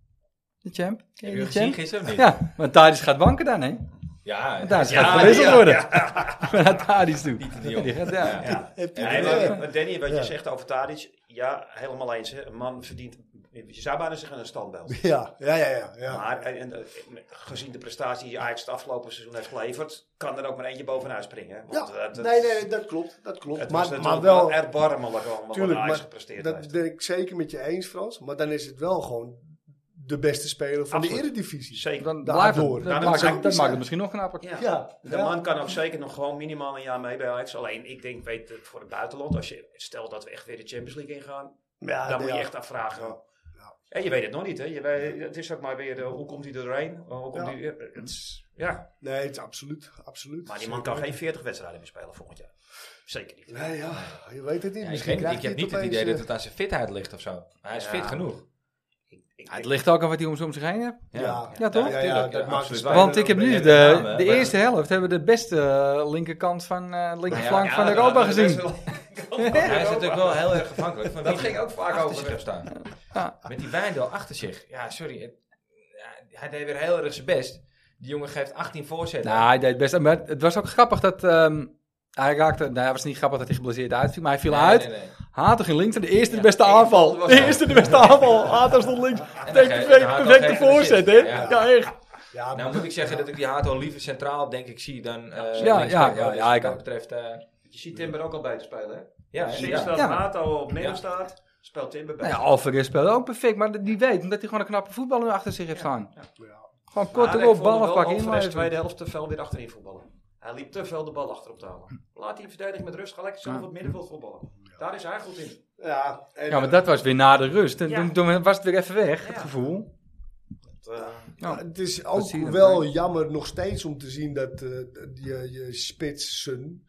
D: De champ. Ken
A: Heb
D: je
A: je
D: die
A: gezien
D: champ?
A: gisteren of niet?
D: Ja, want Thadis gaat banken dan, hè?
A: Ja,
D: Thadis
A: ja,
D: gaat gewisseld worden. Maar [LAUGHS] naar Thadis toe. Die gaat, ja.
A: Ja.
C: Heeft hij
G: Nee,
C: het, eh,
G: maar maar Danny, wat
C: Ja.
G: je zegt over Tadic, ja, helemaal eens. hè. Een man verdient, je zou bijna zeggen een standbeeld.
C: ja, ja, ja, ja. ja.
G: Maar en, en, eh, gezien de prestatie die Ajax het afgelopen seizoen heeft geleverd, kan er ook maar eentje bovenuit springen. hè. Want,
C: Ja,
G: eh, dat-
C: nee, nee, dat klopt. Dat klopt.
G: Het
C: Maar,
G: was
C: maar,
G: natuurlijk
C: wel,
G: wel erbarmelijk allemaal wat
C: tuurlijk,
G: Ajax
C: maar
G: gepresteerd
C: dat
G: heeft.
C: ben ik zeker met je eens, Frans. Maar dan is het wel gewoon de beste speler van
G: Absoluut.
C: de Eredivisie.
G: Zeker.
D: Dan
C: Daar
D: blijft
C: door.
D: het. Dat,
G: Daarom
D: maakt, het-
G: zou
C: ik
D: dat
C: niet
D: maakt
C: zeggen.
D: het misschien nog knapper.
G: Ja.
C: Ja,
G: De
C: ja.
G: man kan ook zeker nog gewoon minimaal een jaar mee bij Ajax. Alleen ik denk, weet het, voor het buitenland, als je, stel dat we echt weer de Champions League ingaan,
C: Ja,
G: dan moet
C: Ah, ja.
G: je echt afvragen.
C: Ja.
G: Ja, je weet het nog niet, hè? Je weet, het is ook maar weer, eh, hoe komt hij er doorheen? Eh, Hoe komt
C: Ja.
G: ja. Die, eh, het is- ja,
C: Nee, het is absoluut, absoluut.
G: maar die man kan geen 40 wedstrijden meer spelen volgend jaar. Zeker niet.
C: Nee, ja, je weet het niet.
A: Ja, ik,
C: Misschien
A: weet niet,
C: krijgt
A: ik heb
C: hij
A: niet het
C: opeens,
A: idee dat
C: eh,
A: het aan zijn fitheid ligt of zo. Hij is
G: Ja.
A: fit genoeg.
G: Ik, ik,
D: Ja,
G: ik-
D: het ligt ook aan wat hij om om zich heen heeft.
C: Ja,
D: Ja, toch?
C: Ja,
A: tuurlijk,
C: dat
A: ja,
C: maakt
G: dus
A: absoluut
C: het
A: waar.
D: Want ik heb nu
A: Ja,
D: de,
A: ja,
D: de
A: maar-
D: eerste helft hebben we de beste eh, linkerkant van eh linkerflank van Europa
G: dat-
D: gezien.
G: dat is wel-
A: Hij is natuurlijk wel heel erg afhankelijk. Van
G: Dat
A: wie
G: ging ook vaak
A: achter
G: over,
A: zich
G: hè?
A: heeft staan.
D: Ja.
A: Met die Wijndal achter zich. Ja, sorry. het- ja, hij deed weer heel erg zijn best. Die jongen geeft 18 voorzetten.
D: Nou, hij deed best. Maar het was ook grappig dat ehm, hij raakte. Nou, het was niet grappig dat hij geblesseerd uitviel, maar hij viel
A: Nee,
D: uit.
A: nee, nee.
D: Hato ging links en de eerste de
G: Ja,
D: beste
G: één
D: aanval.
G: bal was
D: De
G: er.
D: eerste de beste aanval. Hato stond links.
A: dan
D: Tegen
A: ge-
D: perfect,
A: Hato
D: perfecte
A: geeft een
D: voorzet, hè?
A: assist.
D: Ja. echt.
C: Ja,
A: Nou moet ik zeggen dat ik die Hato liever centraal denk ik zie dan... eh,
D: ja,
A: linksback.
D: ja, ja,
A: Dus
D: ja,
A: wat
D: ik
A: dat
D: ook.
A: betreft... eh,
B: Je ziet Timber ook al bij te spelen, hè?
A: ja, ja,
B: Sinds dat
D: Ja.
B: Mato op midden staat, speelt Timber bij.
D: Nou ja, Alvarez speelde ook perfect, maar die weet omdat hij gewoon een knappe voetballer achter zich heeft staan.
C: Ja.
D: Gewoon
B: Maar
D: kort
B: ik
D: erop,
B: vond hem
D: ballen
B: wel
D: pakken,
B: Alvarez tweede
D: inleveren.
B: helft te veel weer achterin voetballen. Hij liep te veel de bal achter op te halen. Laat die verdediging met rust, ga lekker zelf
D: Ja.
B: op het middenveld voetballen. Daar is hij goed in.
C: Ja, en,
D: Ja, maar dat was weer na de rust. En
B: Ja.
D: toen, toen was het weer even weg, het
B: Ja.
D: gevoel.
B: Eh,
D: Ja.
C: het is
D: dat
C: ook
D: zie je dan
C: wel
D: bij.
C: jammer nog steeds om te zien dat eh, je, je spitsen,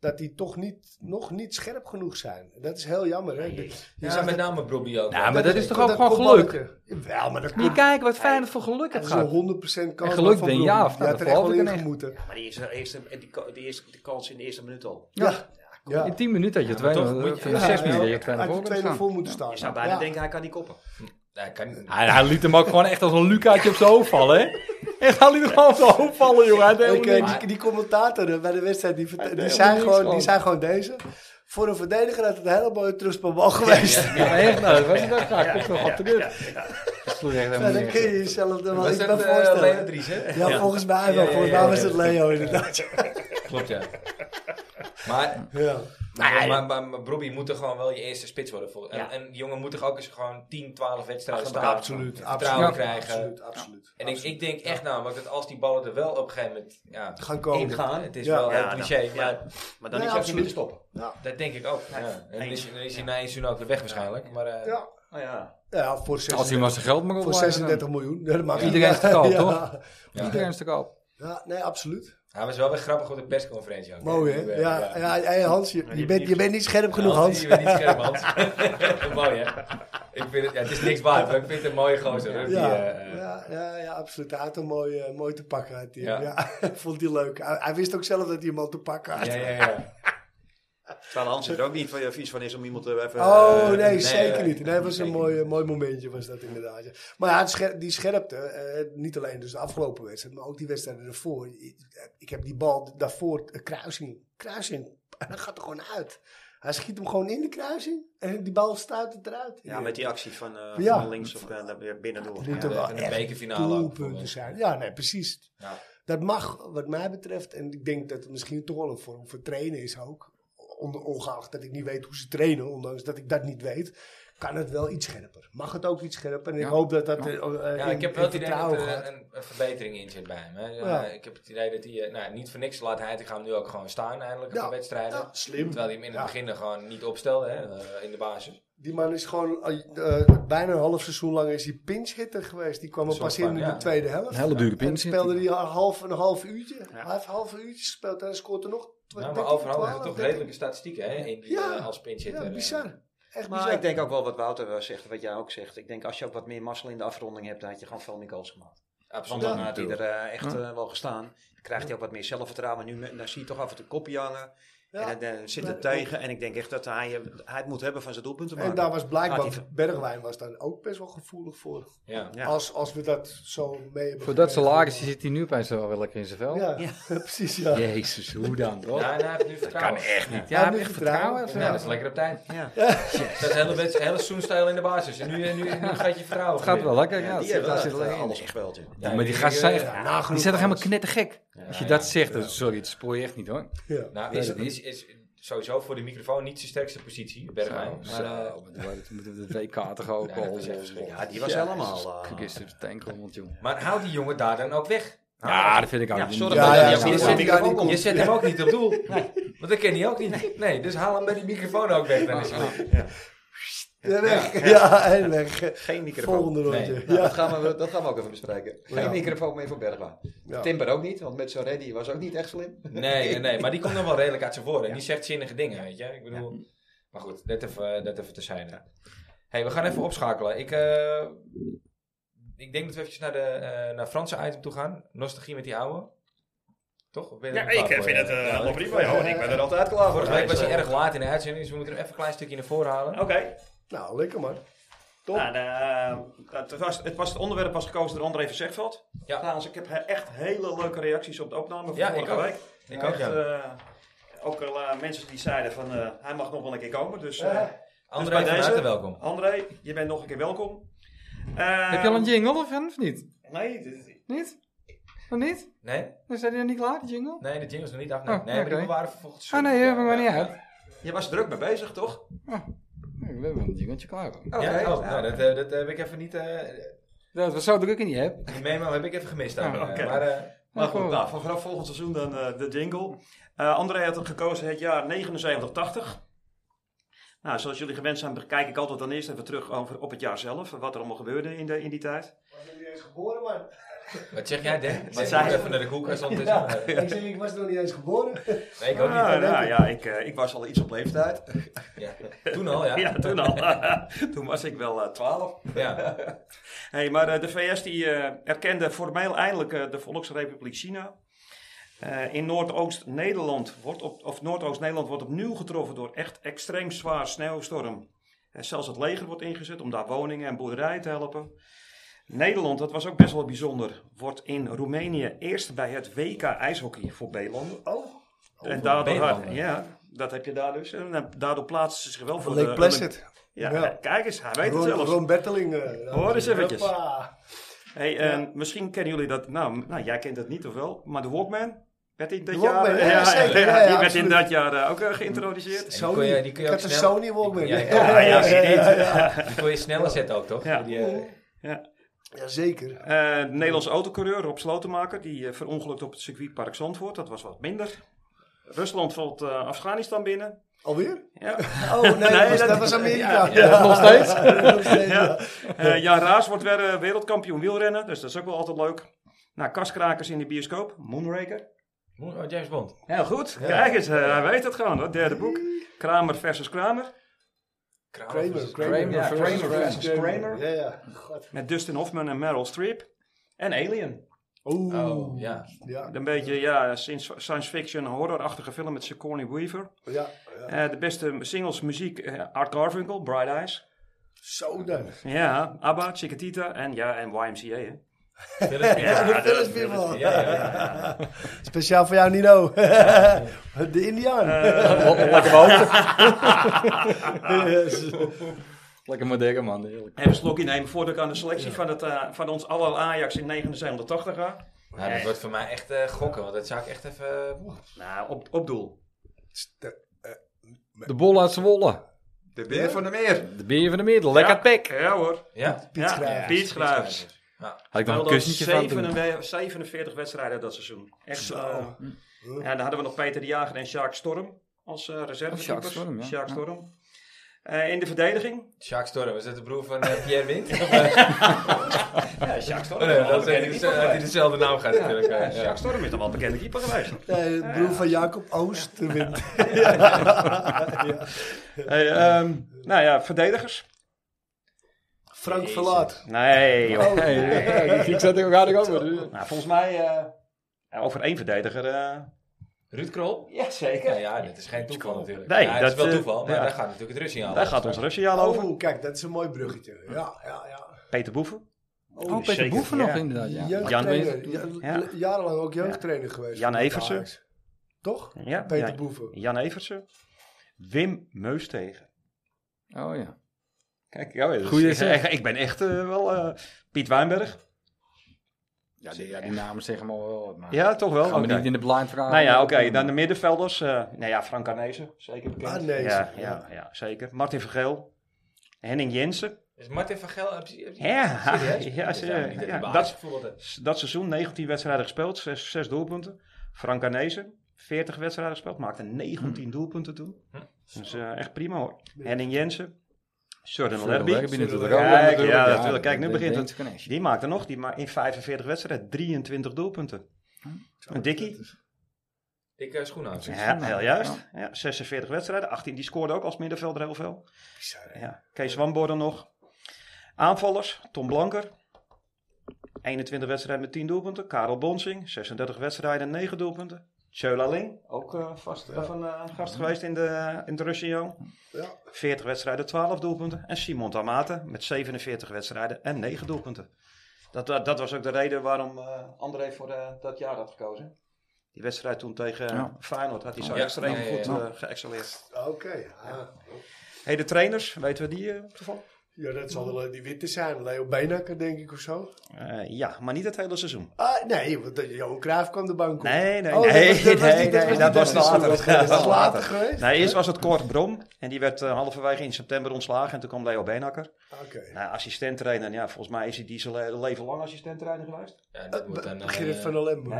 C: dat die toch niet, nog niet scherp genoeg zijn. Dat is heel jammer. Hè? Dat- je
A: ja,
C: zegt
A: met
C: dat-
A: name Brobbey ook.
D: Ja, maar dat is toch ook gewoon
C: kopballetje-
D: geluk?
C: Jawel, maar dat
D: Moet je
C: komt
D: kijken wat Feyenoord voor geluk
C: dat
D: het
C: is
D: gaat.
C: een 100% kans.
D: En geluk
C: van
D: ben je
C: Brobbey.
D: af,
C: Je
D: nou,
C: had er
D: dan
C: echt
D: valt
C: wel in
D: het in echt.
C: gemoeten.
B: maar die, eerste, eerste, en die, ko- die eerste de kans in de eerste minuut al.
C: Ja, ja.
D: In 10 minuten had je
A: maar
D: twee
A: toch moet je-
D: minuten.
A: Ja,
D: Zes
A: ja,
D: minuten had je
C: Had
D: twee
C: je
D: minuten.
C: tweede
D: voor
C: voor moeten staan.
B: Je zou bijna
C: Ja.
B: denken, hij kan niet koppen.
A: Nee, kan niet.
D: Hij, hij liet hem ook gewoon echt als een Lucaatje op zijn hoofd vallen, hè? Echt, hij liet hem gewoon op zijn hoofd vallen, jongen. Hij deed
A: oh,
C: Ik,
D: helemaal
C: eh,
D: niks.
C: die, die commentatoren bij de wedstrijd, die, verte- die,
D: helemaal
C: zijn
D: niks
C: gewoon,
D: van.
C: die zijn gewoon deze. Voor een verdediger had het een hele mooie trustbal geweest.
D: Ja, maar echt, nou, dat was het ook graag. Ik nog op de deur. Dat sloeg echt helemaal
C: Ja, dan
D: niks.
C: kun je jezelf er wel
A: Was
C: iets bij
A: dat eh Leo
C: voorstellen.
A: Dries, hè?
C: ja, volgens mij wel.
A: Ja, ja,
C: volgens
A: ja,
C: mij
A: ja,
C: was
A: ja.
C: het Leo inderdaad.
A: Klopt, ja. Maar,
C: Ja.
A: maar, maar, maar, Brobbey moet er gewoon wel je eerste spits worden. Voor. En,
B: Ja.
A: en die jongen moet toch ook eens gewoon 10, 12 wedstrijden
B: Achter
A: staan.
B: elkaar,
C: Absoluut.
A: Vertrouwen
C: absoluut,
A: krijgen.
C: Absoluut, absoluut.
A: En ik, ik denk echt namelijk dat als die ballen er wel op een gegeven moment ja,
C: Gaan komen.
A: ingaan, het is
C: Ja.
A: wel
B: Ja,
A: heel
B: nou,
A: cliché,
B: ja.
A: maar
B: Maar dan is
C: Nee,
B: hij ook niet
C: absoluut.
B: meer te stoppen.
A: dat denk ik ook. Ja. En dan is, dan is hij na één seizoen ook weer weg waarschijnlijk. Maar, eh,
C: Ja.
B: Nou ja.
C: Ja, voor 36,
D: Als hij maar zijn geld mag
C: voor
D: opblijven.
C: 36 miljoen. Ja, dat maakt niet
D: Iedereen is
C: uit.
D: te koop,
C: [LAUGHS] Ja.
D: toch? Iedereen is te koop.
C: Ja, nee, absoluut.
A: hij was wel weer grappig op de persconferentie. ook.
C: Mooi, hè?
A: Nu,
C: Ja,
A: eh,
C: ja. hey, Hans, je, je, bent, je bent niet scherp genoeg,
A: Hans,
C: Hans.
A: Je bent niet scherp, Hans. [LAUGHS] Mooi, hè? Ik vind het, ja, het is niks waard, maar ik vind het een mooie gozer. hoor, die,
C: Ja,
A: eh,
C: ja, ja, ja, absoluut. Hij had hem mooi, eh, mooi te pakken. Had hij.
A: Ja.
C: Ja. [LAUGHS] vond hij leuk. Hij, hij wist ook zelf dat hij hem al te pakken had.
A: ja, ja, ja.
B: Terwijl Hans er ook niet van je advies van is om iemand eh, even...
C: Oh,
B: eh,
C: nee,
A: nee,
C: zeker
A: nee,
C: niet. Nee, het was een
A: zeker
C: mooi, eh, mooi momentje, was dat inderdaad. ja. Maar ja, het scher- die scherpte, eh, niet alleen dus de afgelopen wedstrijd, maar ook die wedstrijden ervoor. Ik, ik heb die bal daarvoor, eh, kruising, kruising, [LAUGHS] en dat gaat er gewoon uit. Hij schiet hem gewoon in de kruising en die bal stuit het eruit.
B: Ja, met die actie van, eh,
C: Ja.
B: van links of eh, naar weer binnendoor.
C: Moet
B: Ja.
C: er wel
A: en de
C: echt
A: bekerfinale ook,
C: doelpunten
A: bijvoorbeeld.
C: zijn. Ja, nee, precies.
A: Ja.
C: Dat mag, wat mij betreft, en ik denk dat het misschien toch wel een vorm van trainen is ook. On- ongeacht dat ik niet weet hoe ze trainen, ondanks dat ik dat niet weet, kan het wel iets scherper. Mag het ook iets scherper? En ik
D: Ja.
C: hoop dat dat
D: Ja.
C: eh, eh,
A: Ja,
C: in-
A: ik heb wel
C: in
A: het idee dat
C: vertrouwen
A: er
C: gaat.
A: een, een verbetering in zit bij hem. Hè. Eh,
C: Ja.
A: Ik heb het idee dat hij, eh, nou, niet voor niks laat hij het gaan nu ook gewoon staan eindelijk op
C: Ja,
A: de wedstrijden.
C: ja, slim.
A: Terwijl hij hem in het
C: Ja.
A: begin er gewoon niet opstelde hè, eh, in de basis.
C: Die man is gewoon eh, eh, bijna een half seizoen lang is hij pinchhitter geweest. Die kwam er
A: Zo
C: pas
A: van,
C: in in
A: ja.
C: de tweede helft.
D: hele dure
C: En speelde hij een half, een half uurtje. Hij heeft een half uurtje gespeeld en hij scoort er nog. tw-
A: Nou,
C: 13,
A: maar overal
C: 12,
A: hebben we toch
C: 13.
A: redelijke statistieken hè, in die,
C: Ja.
A: eh, als pinchitter.
C: Ja,
A: eh.
C: bizar.
B: Maar
C: Echt bizar.
B: Dus ik denk ook wel wat Wouter eh, zegt, wat jij ook zegt. Ik denk als je ook wat meer mazzel in de afronding hebt, dan had je gewoon veel meer goals gemaakt. Want
A: Absoluut.
B: dan
A: Ja.
B: had hij er eh, echt
D: Ja.
B: eh, wel gestaan. Dan krijgt hij ook wat meer zelfvertrouwen. Nu me- dan zie je toch af en toe kopje hangen.
C: Ja.
B: En dan eh, zit
C: Ja.
B: het tegen. En ik denk echt dat hij, eh, hij het moet hebben van zijn doelpunten maken.
C: En daar was
B: Gaat
C: blijkbaar,
B: die-
C: Bergwijn was daar ook best wel gevoelig voor.
A: Ja.
B: Ja.
C: Als, als we dat zo mee hebben
D: Voor dat
C: gekregen.
D: salarisje zit hij nu opeens wel weer lekker in zijn vel.
C: Ja, [LAUGHS] precies ja.
D: Jezus, hoe dan? toch?
A: Ja, en Nou, hij heeft nu vertrouwen.
D: kan echt niet.
C: Ja,
D: Ja,
C: hij
D: heb
C: heeft
D: echt vertrouwen.
C: vertrouwen.
A: Ja, dat is lekker op tijd.
B: Ja.
A: Dat is hele, wedst- hele seizoenstijl in de basis. En nu, eh, nu, nu gaat je vertrouwen.
D: Het gaat wel
A: winnen.
D: lekker.
B: Ja,
D: Ja,
B: die hebben
D: daar zit
B: echt,
D: alleen
B: eh, alles gespeeld. in.
A: Ja,
D: maar die
A: ik-
D: gasten zijn
A: eh,
D: echt-
A: ja.
D: Die zijn toch helemaal knettergek? Als je dat
A: ja.
D: zegt, dan- sorry, het spoor je echt niet hoor.
C: Ja.
A: Nou,
D: Nee,
A: is,
D: dat
A: is, is sowieso voor de microfoon niet zijn sterkste positie, Bergwijn.
D: Zo,
A: Maar, eh,
D: zo, maar dat moeten we de WK toch ook
A: Ja,
D: al.
A: dat was echt verschrikkelijk.
B: Ja, die was helemaal, eh,
D: Gisteren de tankrond, joh.
A: maar hou die jongen daar dan ook weg.
D: Ja, dat vind ik ook.
B: Ja,
D: niet.
B: zorg
C: Ja,
B: dat
C: ja,
B: hij op
C: ja, ja,
B: de microfoon
C: ja, die
B: komt.
A: Je zet hem ook niet op doel. Want dat ken hij ook niet. Nee, dus haal hem bij die microfoon ook weg. Dan alsjeblieft.
C: Ja, weg. Ja, en weg.
B: Geen microfoon.
C: Volgende
A: Nee.
C: rondje.
B: Nou,
C: Ja.
B: dat, gaan we, dat gaan we ook even bespreken. Geen
C: Ja.
B: microfoon meer voor Bergwijn.
C: Ja.
B: Timber ook niet, want met zo'n ready was ook niet echt slim.
A: Nee, nee, nee, maar die komt dan wel redelijk uit zijn woorden. En die zegt zinnige dingen, weet je. Ik bedoel, maar goed, dat even, eh, dat even te zijn. hey, we gaan even opschakelen. Ik, eh, ik denk dat we eventjes naar de eh, naar Franse item toe gaan. Nostalgie met die oude. Toch? Of ben je er
G: Ja,
A: nog klaar
G: ik
A: voor?
G: eh, vind het
A: Ja,
G: eh,
A: ik-
G: allemaal prima, joh. En ik ben er altijd klaar voor.
A: Vorige week was hij
G: Dus, eh, Oh,
A: erg laat in de uitzending, dus we moeten hem even een klein stukje naar voren halen.
G: Oké.
C: Nou, lekker man. Top.
G: Nou, eh, het, was, het, was, het onderwerp was gekozen door André van Zegveld.
A: Ja.
G: Trouwens, ik heb he- echt hele leuke reacties op de opname van
A: Ja, ik
G: vorige
A: ook.
G: week.
A: Ik ook,
G: Echt,
A: ja.
G: eh, ook al eh, mensen die zeiden van, eh, hij mag nog wel een keer komen. Dus eh,
A: André,
G: bij
A: van
G: deze-
A: harte welkom.
G: André, je bent nog een keer welkom. Eh,
D: Heb je al een jingle of of niet?
G: Nee, dit-
D: Niet? Nog niet?
A: Nee?
D: Dan zijn die nog niet klaar, die jingle?
A: Nee, de jingle is nog niet af. Nee,
D: Oh,
A: nee maar die
D: oké.
A: bewaren voor volgend
D: Ah
A: seizoen.
D: nee, hebben we maar
A: Ja,
D: niet
A: ja.
D: uit.
B: Je was druk mee bezig, toch?
D: Nee, We hebben een jingletje klaar. hoor.
B: Oké.
A: Ja, oh,
B: Ja.
A: nou, dat, eh, dat heb ik even niet. eh
D: Dat was zo druk in die app.
A: die memo heb ik even gemist. daar.
D: Ah,
G: Oh, oké.
A: Maar eh,
G: Maar goed,
D: Gewoon.
G: nou, van vanaf volgend seizoen dan eh, de jingle. Eh André had gekozen het jaar 79-80. Nou, zoals jullie gewend zijn, kijk ik altijd dan eerst even terug over, op het jaar zelf. Wat er allemaal gebeurde in, de, in die tijd.
C: Was nog niet eens geboren, man.
A: wat zeg jij, Den? Wat
G: zei
A: zei
G: je?
A: Even naar de koelkast ondertussen.
C: Ja,
A: maar, eh,
C: ik zeg, ik was nog niet eens geboren.
A: Nee, ik ook
G: Ah,
A: niet.
G: nou, ja, ik, eh, ik was al iets op leeftijd.
A: Ja. Toen al, Oh ja.
G: [LAUGHS] Ja, toen al. toen was ik wel eh, 12.
A: Ja.
G: Hey, maar eh, de VS die, eh, erkende formeel eindelijk eh, de Volksrepubliek China. Eh, in Noordoost-Nederland wordt, op, of Noordoost-Nederland wordt opnieuw getroffen door echt extreem zwaar sneeuwstorm. Eh, zelfs het leger wordt ingezet om daar woningen en boerderijen te helpen. Nederland, dat was ook best wel bijzonder, wordt in Roemenië eerst bij het WK ijshockey voor B-landen.
C: Oh,
G: En daardoor,
A: B-landen.
G: ja, dat heb je daar dus. En eh, daardoor plaatsen ze zich wel voor
C: Lake
G: de...
C: Placid.
G: Ja,
C: Ja.
G: kijk eens, hij weet het
C: Ron,
G: zelfs.
C: Ron Berteling. eh,
G: Hoor eens eventjes.
C: Hoppa.
G: Hey, en misschien kennen jullie dat, nou, nou, jij kent dat niet of wel, maar de Walkman werd in dat
C: De
G: jaar, eh,
C: Walkman, ja, zeker, ja,
G: die
C: ja,
G: werd in
C: absoluut.
G: dat jaar eh, ook eh, geïntroduceerd.
A: En
G: Ah,
A: die kon je- die kon je
C: ik
A: ook
C: had een
A: snel-
C: Sony Walkman.
A: Ja,
C: Ja,
A: ik ook.
G: Ja, ja, zie je dit.
A: Die kon je sneller zetten ook, toch?
G: Ja.
A: Die, eh,
C: Ja, zeker.
G: Eh, de Nederlandse autocoureur Rob Slotenmaker, die eh, verongelukt op het circuitpark Zandvoort, dat was wat minder. Rusland valt eh, Afghanistan binnen.
C: Alweer?
G: Ja.
C: Oh, nee, dat, was,
G: dat-
C: dat was Amerika.
G: ja,
C: Nog steeds?
G: Ja. Eh, Jan Raas wordt weer eh, wereldkampioen wielrennen, dus dat is ook wel altijd leuk. Nou, kaskrakers in de bioscoop, Moonraker.
A: oh, James Bond.
G: Heel goed, kijk eens, eh, hij weet het gewoon, hoor. derde boek. Kramer versus Kramer.
C: Kramer.
D: Kramer
C: ja,
D: versus
G: Kramer.
C: Ja, ja.
G: Met Dustin Hoffman en Meryl Streep. En Alien.
C: Oeh.
A: Oh, ja.
C: Ja,
G: Een beetje ja, sinds- science fiction horrorachtige film met Sigourney Weaver.
C: ja, ja.
G: Eh, de beste singles muziek eh, Art Garfunkel, Bright Eyes.
C: Zo dan.
G: Ja, ABBA, Chiquitita en, ja, en YMCA. Hè.
C: Ja,
G: Ja,
C: de
G: dat-
C: Philips-Bibel.
A: Ja, ja, ja.
C: Speciaal voor jou, Nino. [LAUGHS] De Indiaan.
G: Eh.
D: [LAUGHS] Lekker hoofd. Lekker moderne man, heerlijk.
G: Even een slokje nemen voordat ik aan de selectie van, het, eh, van ons aller Ajax in 7980 ga.
A: Nou, dat wordt voor mij echt eh, gokken, want dat zou ik echt even... eh, Oeh.
G: Nou, op, op doel.
D: De bol uit Zwolle.
B: De binnen van de meer.
D: De beer van de midden. Lekker
G: Ja,
D: pek.
G: Ja hoor.
A: Ja.
C: Piet
G: ja,
C: Schrijvers.
G: Piet Schrijvers.
D: Had ik nog een
G: Terwijl dat
D: kussentje van [LAUGHS] doen.
G: 47 47 wedstrijden dat seizoen. Echt zo.
C: Zo.
G: Ja, dan hadden we nog Peter de Jager en Sjaak Storm als eh reservekeepers.
D: Oh, Sjaak Storm, ja.
G: Sjaak
D: Ja.
G: Storm. Eh, in de verdediging?
A: Jacques Storm, is dat de broer van eh, Pierre Wind? Of, eh,
G: Ja, Sjaak Storm.
A: oh,
G: is
A: nee,
G: nog wel
A: dat
G: een
A: is- die-
G: bekende keeper
A: had hij
G: geweest.
A: dezelfde naam gaat natuurlijk. eh,
G: Ja,
A: ja.
G: Sjaak Storm is nog wel een bekende keeper [LAUGHS] geweest.
C: Nee, de Eh, broer van Jacob Oost. de wind.
G: Hey, ehm, nou ja, verdedigers?
C: Frank Verlaat. Oh.
G: Nee, [LAUGHS] joh.
D: Ik zat er ook aardig over. dus-
G: Nou, volgens mij eh, ja, over één verdediger. eh
A: Ruud Krol?
G: ja,
A: Ja,
G: zeker.
A: ja, dat is geen toeval natuurlijk.
G: Nee,
A: ja,
G: dat,
A: dat is wel
G: eh,
A: toeval, maar
G: ja.
A: daar gaat natuurlijk het Russie aan.
G: Daar gaat ons Russiaal over.
C: Oh, kijk, dat is een mooi bruggetje. Ja, ja, ja.
G: Peter Boeven.
D: Oh, Peter
G: Zeker,
D: Boeven
G: ja.
D: nog inderdaad, ja.
C: Jeugdtrainer. Ja,
G: Ja.
C: Jarenlang ook jeugdtrainer geweest.
G: Jan
C: van
G: Eversen.
C: Ajax. Toch?
G: Ja,
C: Peter
G: ja.
C: Boeven.
G: Jan Eversen. Wim Meustegen.
D: Oh ja.
G: Kijk, oh ja, dat is-
D: Goeie
G: ik,
D: zeg.
G: echt- [LAUGHS] ik ben echt eh, wel eh, Piet Wijnberg.
D: Ja, die, ja, die namen zeggen me wel wat, maar...
G: Ja, toch wel.
D: Gaan we
G: Oké.
D: niet in de blind vragen.
G: Nou ja, oké. Dan de middenvelders. eh nou ja, Frank Arnezen. Zeker bekend.
C: Ah, Arnezen,
G: Ja,
C: ja.
G: ja, ja, zeker. Martin Vergeel. Henning Jensen.
A: Is Martin van Gel... heb je- heb je-
G: Ja,
A: serieus?
G: [LAUGHS] ja,
A: Dat zou
G: serieus.
A: niet dat
G: Ja,
A: de baas
G: dat-
A: gevoeld had.
G: S- Dat seizoen 19 wedstrijden gespeeld. 6, doelpunten. Frank Arnezen. 40 wedstrijden gespeeld. Maakte 19
D: Hm.
G: doelpunten toen. Dus eh, echt prima hoor. Henning Jensen. Jordan Lerby. Kijk, ja, natuurlijk. Kijk, nu begint het. Die maakte nog, die ma in 45 wedstrijden 23 doelpunten. Een dikkie.
A: Ik eh, schoen aan.
G: Ja, heel juist. Ja, 46 wedstrijden, 18 die scoorde ook als middenvelder heel veel.
C: Bizar, hè?
G: Ja. Kees Wanborden nog. Aanvallers, Tom Blanker. 21 wedstrijden met 10 doelpunten. Karel Bonsing, 36 wedstrijden, 9 doelpunten. Tjöla Ling, ook eh, vast, of een eh, gast geweest in de, in de Russia.
C: Ja.
G: 40 wedstrijden, 12 doelpunten. En Simon Tamate met 47 wedstrijden en 9 doelpunten. Dat, dat, dat was ook de reden waarom eh, André voor eh, dat jaar had gekozen. Die wedstrijd toen tegen eh,
D: Ja.
G: Feyenoord had hij zo
A: Ja,
G: extreem
A: ja, ja, ja.
G: goed eh geëxceleerd.
C: Oké. ja.
G: Hey, de trainers, weten we die eh, toevallig?
C: Ja, dat zal wel eh, die witte zijn. Leo Benakker, denk ik, of zo.
G: Eh, ja, maar niet het hele seizoen.
C: Ah, nee, want eh, Johan Cruijff kwam de bank op.
G: Nee, nee,
C: Oh, dat
G: nee,
C: was- dat was
G: nee,
C: niet-
G: nee,
C: dat was niet
G: dat was
C: dat seizoen,
G: later.
C: dat was-
G: [LAUGHS] Dat was
C: dat was
G: later.
C: later geweest.
G: Nou, eerst was het Cor Brom en die werd eh, halverwege in september ontslagen en toen kwam Leo Beenhakker.
C: Ah, Oké.
G: Nou, assistent-trainer, ja, volgens mij is hij die zijn le- leven lang assistent-trainer geweest.
A: Ja, dat wordt dan... eh,
C: Gerrit van der Lembo.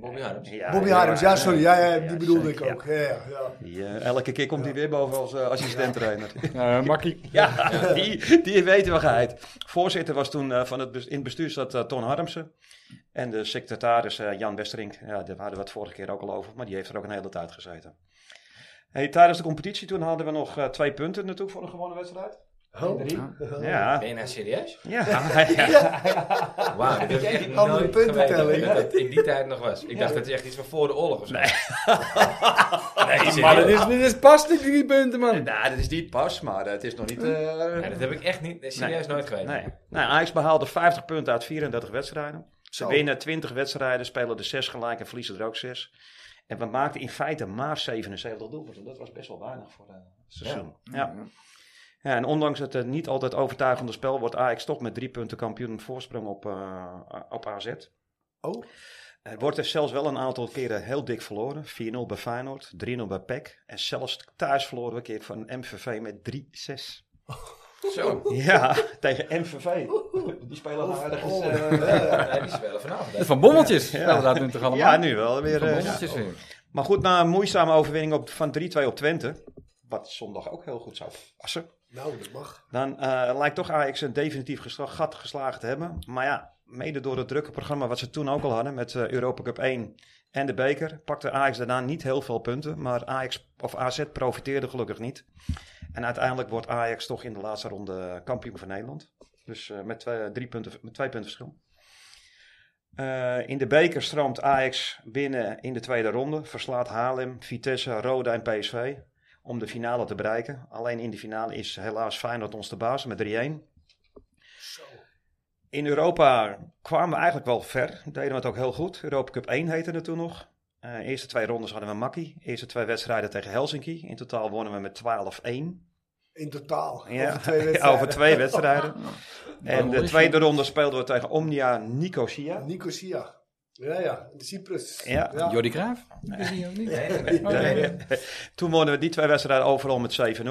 A: Bobby Harms.
G: Ja,
C: Bobby Harms, ja, sorry. Ja, ja, die
G: Ja,
C: bedoelde ik
G: zeker,
C: ook. Ja, ja, ja.
G: Die, eh, elke keer komt hij weer boven als eh, assistent-trainer.
D: Eh, makkie.
G: Ja, [LAUGHS] die, die weten we geheid. Voorzitter was toen eh, van het, bes- in het bestuur zat eh, Ton Harmsen. En de secretaris eh, Jan Westerink. Ja, daar hadden we het vorige keer ook al over. Maar die heeft er ook een hele tijd gezeten. Hey, tijdens de competitie toen hadden we nog eh, twee punten natuurlijk voor een gewonnen wedstrijd.
C: Oh.
G: Ja.
A: Ben je nou serieus?
G: Ja.
A: Wauw, dat heb ik echt
C: andere
A: nooit
C: punten
A: geweten
C: tellen,
A: dat het in die tijd nog was. Ik dacht dat is echt iets van voor de oorlog of zo. [LAUGHS] Nee,
D: Maar dit is, dit is pas die drie punten, man.
G: [LAUGHS] Nou, dat is niet pas, maar het is nog niet...
C: Oh.
G: eh,
A: dat heb ik echt niet, serieus nooit geweten.
G: Nee. Nou, Ajax behaalde 50 punten uit 34 wedstrijden. Ze winnen 20 wedstrijden, spelen er 6 gelijk en verliezen er ook 6. En we maakten in feite maar 77 doelpunten. Dat was best wel weinig voor eh, het seizoen. Ja. Ja. en ondanks het eh, niet altijd overtuigende spel wordt Ajax toch met drie punten kampioen met voorsprong op, eh, op AZ.
C: Oh.
G: Er wordt er zelfs wel een aantal keren heel dik verloren. 4-0 bij Feyenoord, 3-0 bij PEC. En zelfs thuis verloren we een keer van MVV met 3-6.
A: Zo,
G: Ja, [LAUGHS] tegen MVV. Die spelen aardig.
C: Oh.
G: eens,
C: [LAUGHS]
G: eh,
A: nee, die spelen vanavond.
D: Van bommeltjes. Ja, dat nu toch allemaal.
G: ja, nu wel weer.
D: Van
G: eh,
D: bommeltjes weer.
G: maar goed, na een moeizame overwinning op, van 3-2 op Twente. Wat zondag ook heel goed zou passen.
C: Nou, dat mag.
G: Dan eh, lijkt toch Ajax een definitief gesla- gat geslagen te hebben. Maar ja, mede door het drukke programma wat ze toen ook al hadden met eh, Europa Cup 1 en de beker, pakte Ajax daarna niet heel veel punten. Maar Ajax of AZ profiteerde gelukkig niet. En uiteindelijk wordt Ajax toch in de laatste ronde eh, kampioen van Nederland. Dus eh, met, twee, drie punten, met twee punten verschil. Eh, in de beker stroomt Ajax binnen in de tweede ronde. Verslaat Haarlem, Vitesse, Roda en PSV om de finale te bereiken. Alleen in de finale is helaas Feyenoord ons de baas met 3-1. In Europa kwamen we eigenlijk wel ver. Deden we het ook heel goed. Europa Cup 1 heette het toen nog. Eh, eerste twee rondes hadden we makkie. Eerste twee wedstrijden tegen Helsinki. In totaal wonnen we met 12-1.
C: In totaal.
G: Ja, [LAUGHS]
C: Over twee wedstrijden.
G: over twee
C: [LAUGHS]
G: wedstrijden. en de
D: Waarom?
G: tweede ronde speelden we tegen Omnia Nicosia.
C: Nicosia. Ja, ja. De Cyprus.
G: Ja.
D: Jordi Cruijff? Is hij ook niet?
G: [LAUGHS] Nee. Toen wonnen we [LAUGHS] die twee wedstrijden overal met 7-0.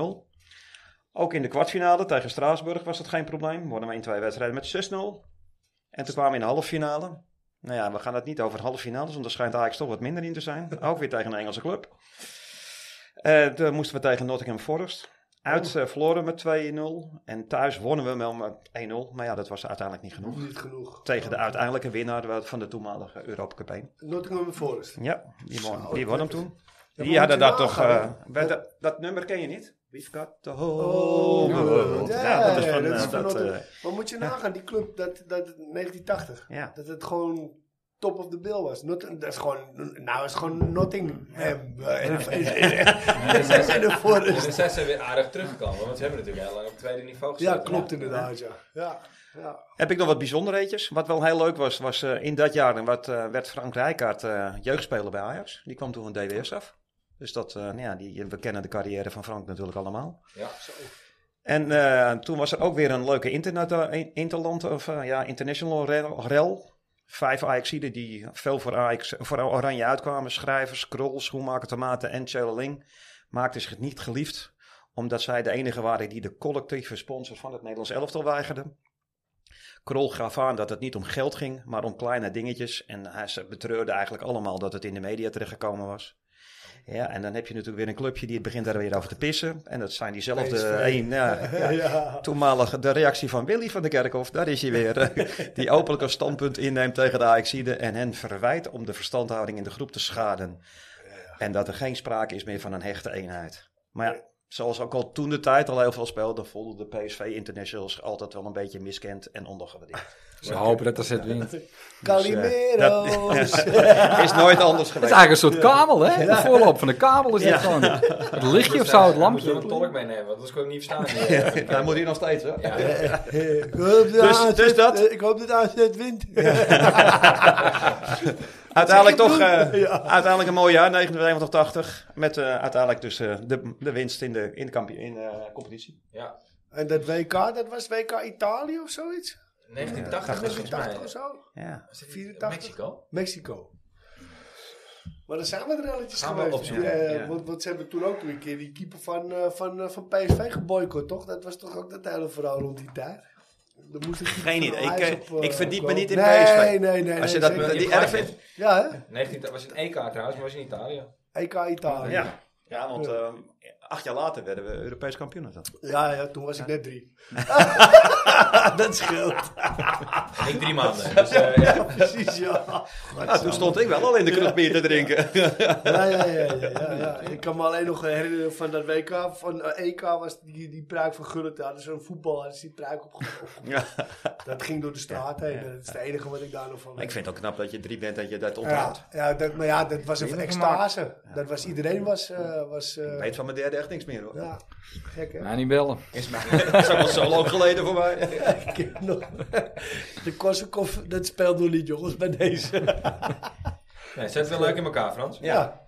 G: Ook in de kwartfinale tegen Straatsburg was dat geen probleem. Wonnen we in twee wedstrijden met 6-0. En toen kwamen we in de halve finale. Nou ja, we gaan het niet over halve finales, want daar schijnt Ajax toch wat minder in te zijn. [LAUGHS] Ook weer tegen een Engelse club. Eh, toen moesten we tegen Nottingham Forest. Uit eh, verloren met 2-0. En thuis wonnen we wel met 1-0. Maar ja, dat was uiteindelijk niet genoeg.
C: Niet genoeg.
G: Tegen de uiteindelijke winnaar eh, van de toenmalige Europa Cup 1.
C: Nottingham Forest.
G: Ja, die won,
C: Zo,
G: die won hem
C: lekker.
G: toen.
C: Ja,
G: die
C: maar
G: hadden
C: moet je
G: dat toch...
C: nagaan,
G: eh,
C: hè?
G: bij
C: Dat-
G: dat, dat nummer ken je niet? We've got the
C: Oh,
G: whole
C: ja,
G: world. Ja, dat is van... eh, dat,
C: Nottingham.
G: eh,
C: Maar moet je nagaan, die club, dat, dat 1980,
G: Ja.
C: dat het gewoon top of the bill was. Not, dat is gewoon, nou is gewoon Nottingham. eh, en- en- en- en- Zij zijn de
A: Dus
C: Forest.
A: dan zijn ze weer aardig teruggekomen, want ze hebben natuurlijk heel lang op het tweede niveau gestaan.
C: Ja, klopt inderdaad, ja. Ja, ja.
G: Heb ik nog wat bijzonderheidjes? Wat wel heel leuk was, was eh, in dat jaar wat, eh, werd Frank Rijkaard eh, jeugdspeler bij Ajax. Die kwam toen van DWS af. Dus dat, eh, nou ja, die, we kennen de carrière van Frank natuurlijk allemaal.
A: Ja.
G: En eh, toen was er ook weer een leuke internet, eh, interland, of eh, ja, international rel. rel. Vijf Ajaxiden die veel voor, Ajax, voor Oranje uitkwamen. Schrijvers, Krol, Schoenmaker, Tomaten en Tjelerling maakten zich niet geliefd. Omdat zij de enige waren die de collectieve sponsor van het Nederlands elftal weigerden. Krol gaf aan dat het niet om geld ging, maar om kleine dingetjes. En hij, ze betreurde eigenlijk allemaal dat het in de media terechtgekomen was. Ja, en dan heb je natuurlijk weer een clubje die het begint daar weer over te pissen. En dat zijn diezelfde
C: PSV.
G: één. ja, ja,
C: Ja.
G: nou, Toenmalig de reactie van Willy van de Kerkhof, daar is hij weer. Die openlijk een standpunt inneemt tegen de Ajaxide en hen verwijt om de verstandhouding in de groep te schaden. En dat er geen sprake is meer van een hechte eenheid. Maar ja, zoals ook al toen de tijd al heel veel speelden, voelden de PSV Internationals altijd wel een beetje miskend en ondergewaardeerd.
D: Ze hopen dat AZ wint. Het
C: Calimero. [LAUGHS]
G: Is nooit anders
D: is
G: geweest.
D: eigenlijk een soort kabel, hè? De voorloop van de kabel is dit
G: Ja.
D: gewoon. Het lichtje of zo,
A: Moet
D: het
A: je een
D: lampje.
A: tolk meenemen, want anders kon ik niet
G: [LAUGHS]
A: verstaan. Ja.
G: Daar moet hij nog steeds, hè?
C: Ik hoop dat
G: Dus-
C: AZ
G: dus dat-
C: eh, Ik hoop dat AZ wint.
G: Uiteindelijk
C: Zeg je
G: toch
C: het
G: [LAUGHS] eh,
C: doen? Ja.
G: uiteindelijk een mooi jaar, 79 80. Met eh, uiteindelijk dus eh, de, de winst in de, in de kampioen, in, eh, competitie.
C: En dat WK, dat was WK Italië of zoiets?
A: 1980 was volgens
C: 80 of
A: mij.
C: zo?
G: Ja.
A: Was het
C: 84?
A: Mexico?
C: Mexico. Maar dan zijn we er relletjes
A: Gaan we
C: geweest.
A: opzoeken.
C: Ja, ja,
G: Ja.
C: Want, want ze hebben toen ook nog een keer die keeper van, eh, van, eh, van PSV geboycott, toch? Dat was toch ook dat hele verhaal rond die tijd? Er moest een keeper
G: Geen
C: van
G: idee. Ik,
C: Ajax
G: eh,
C: op, eh,
G: ik verdiep me
C: komen.
G: niet in
C: nee,
G: PSV.
C: Nee, nee, nee.
G: Als je
C: nee,
G: dat,
C: zeker.
A: je
G: die
A: hebt
G: erg
A: gelijk,
G: vindt.
C: Ja, hè?
A: 19, dat was een EK trouwens, maar was in Italië.
C: EK Italië. Ja.
G: Ja. ja, want eh, acht jaar later werden we Europees kampioen. Dat, [LAUGHS]
C: Ja, toen was ik net drie.
G: Ah, dat scheelt.
A: En ik drie [LAUGHS] maanden. Dus, eh, ja.
C: Precies, ja.
G: [LAUGHS] Ja, toen stond ik wel al in de kroeg bier te drinken.
C: Ja, ja, ja, ja, ja, ja. Ik kan me alleen nog herinneren van dat WK. Van eh, EK was die, die pruik van Gullit. Daar hadden ze een voetbal, hadden ze die pruik op.
G: [LAUGHS] Ja.
C: Dat ging door de straat heen. Dat is het enige wat ik daar nog van
G: Maar [LAUGHS] ik vind het ook knap dat je drie bent dat je dat onthoudt.
C: ja, ja, dat, maar ja, dat was een
A: Wie heeft
C: extase. Dat was, iedereen was... eh, was eh,
G: Ik weet van mijn derde echt niks meer hoor.
C: ja, gek hè?
D: Nou, niet bellen.
A: Is
G: [LAUGHS] Dat is ook al zo lang geleden voor mij.
C: [LAUGHS] Ik ken nog. [LAUGHS] De Korsakoff, dat speelt nog niet jongens bij deze.
A: nee, zet wel leuk in elkaar, Frans.
C: [LAUGHS] Ja.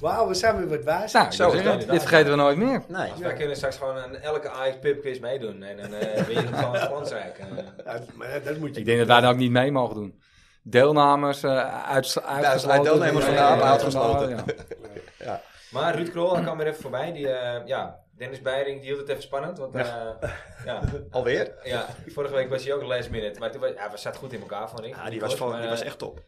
C: Wauw, we zijn weer wat wijs.
D: Nou,
A: Zo
D: zo
A: is het.
D: Dit vergeten we nooit meer.
G: [LAUGHS] Nee.
A: Dus Wij kunnen straks gewoon aan elke Ajax Pip quiz meedoen. En dan eh ben je gewoon glansrijk. Eh,
C: Ja, maar ja, dat moet je
D: Ik denk dat wij daar ook niet mee mogen doen. Deelnamers, eh uit, uitgesloten.
G: deelnemers
A: van de APA
G: uitgesloten.
D: Ja.
A: Maar Ruud Krol, hij kwam weer even voorbij. Die, eh, ja, Dennis Beiring die hield het even spannend. Want eh, ja.
G: Alweer?
A: Ja, vorige week was hij ook een last minute. Maar toen was, ja, hij zat goed in elkaar, vond ik.
G: Ja, Ah, die was, van,
A: Maar,
G: die
A: eh,
G: was echt top.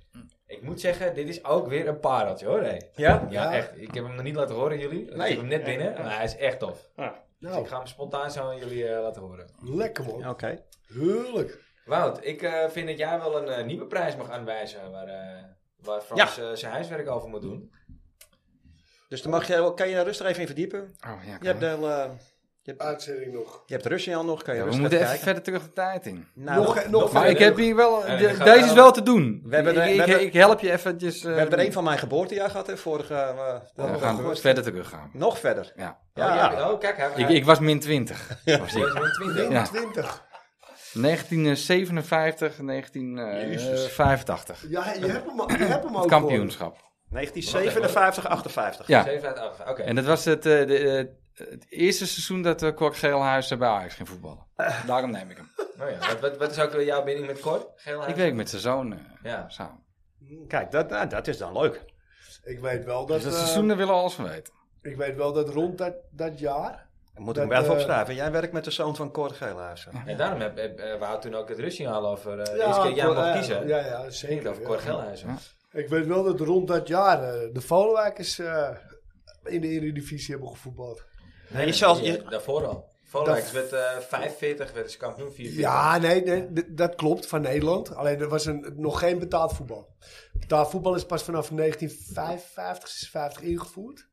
A: Ik moet zeggen, dit is ook weer een pareltje hoor. Hey.
G: Ja?
A: Ja,
C: Ja.
A: echt. Ik heb hem nog niet laten horen, jullie. Ik
G: Nee.
A: heb hem net binnen, maar hij is echt tof. Dus ik
C: Nou,
A: ga hem spontaan zo aan jullie eh, laten horen.
C: lekker man.
G: Oké.
C: Heerlijk.
A: Wout, ik eh, vind dat jij wel een eh, nieuwe prijs mag aanwijzen waar, eh, waar Frans eh, zijn huiswerk over moet doen.
G: Dus dan mag je, kan je daar rustig even in verdiepen.
D: Oh, ja,
G: Je hebt, de, eh, je hebt,
C: Uitzending nog.
G: je hebt Russiaal nog, kan je
D: Ja, we
G: rustig
D: moeten even
G: kijken.
D: verder terug de tijd in.
G: Nou,
C: nog, nog, nog
D: Maar ik heb hier wel...
A: Ja,
D: de-
A: dan gaan we
D: deze is
A: dan-
D: wel te doen.
G: We hebben
D: ik,
G: er-
D: ik-
G: we hebben-
D: ik help je eventjes... eh,
G: we hebben er een van mijn geboortejaar gehad, hè, vorige... eh,
D: Ja, we
G: nog
D: gaan
G: gehoord.
D: verder terug gaan.
G: Nog verder.
D: Ja.
A: Oh,
G: Ja.
A: jij- oh, kijk, hij
D: Ik,
A: hij-
D: ik was min 20. Was
A: hij
D: ik.
A: is weer 20.
C: 21.
D: 1957, eh, 1985.
C: Ja, je hebt hem, al- je hebt hem
D: Het
C: ook
D: kampioenschap.
G: 1957, 58.
D: Ja.
A: 7 uit 8. Oké.
D: En dat was het, eh, de, eh, het eerste seizoen dat eh Cor Geelhuis bij Ajax ging voetballen. Daarom neem ik hem.
A: Nou ja, wat, wat, wat is ook weer jouw binding met Cor? Geel haar?
D: Ik werk met zijn zoon eh,
A: Ja.
D: samen.
G: Kijk, dat, nou, dat is dan leuk.
C: gewonnen. Ik weet wel dat,
D: Dus dat
C: eh,
D: seizoen, daar willen we alles van weten.
C: ik weet wel dat rond dat, dat jaar...
G: Dan moet ik
C: Dat,
G: hem wel even
C: eh,
G: opschrijven. Jij werkt met de zoon van Cor Geelhuis. hè?
A: En daarom heb, heb eh, Wout toen ook het Russiaal over. eh
C: Ja,
A: eerste keer jij
C: voor-
A: mag
C: ja,
A: kiezen.
C: Ja, ja,
A: Ik
C: zeker.
A: over Cor
C: ja.
A: Gelhuizen.
D: Ja.
C: Ik weet wel dat rond dat jaar eh, de Volenwijkers eh, in de Eredivisie hebben gevoetbald.
G: Nee, je zal-
A: die,
G: je-
A: eh, Daarvoor al. Volwijkers werd eh 45, werd ze kampioen 44.
C: Ja, nee, nee, d- dat klopt, van Nederland. Alleen er was een, nog geen betaald voetbal. Betaald voetbal is pas vanaf 1955, 56 ingevoerd.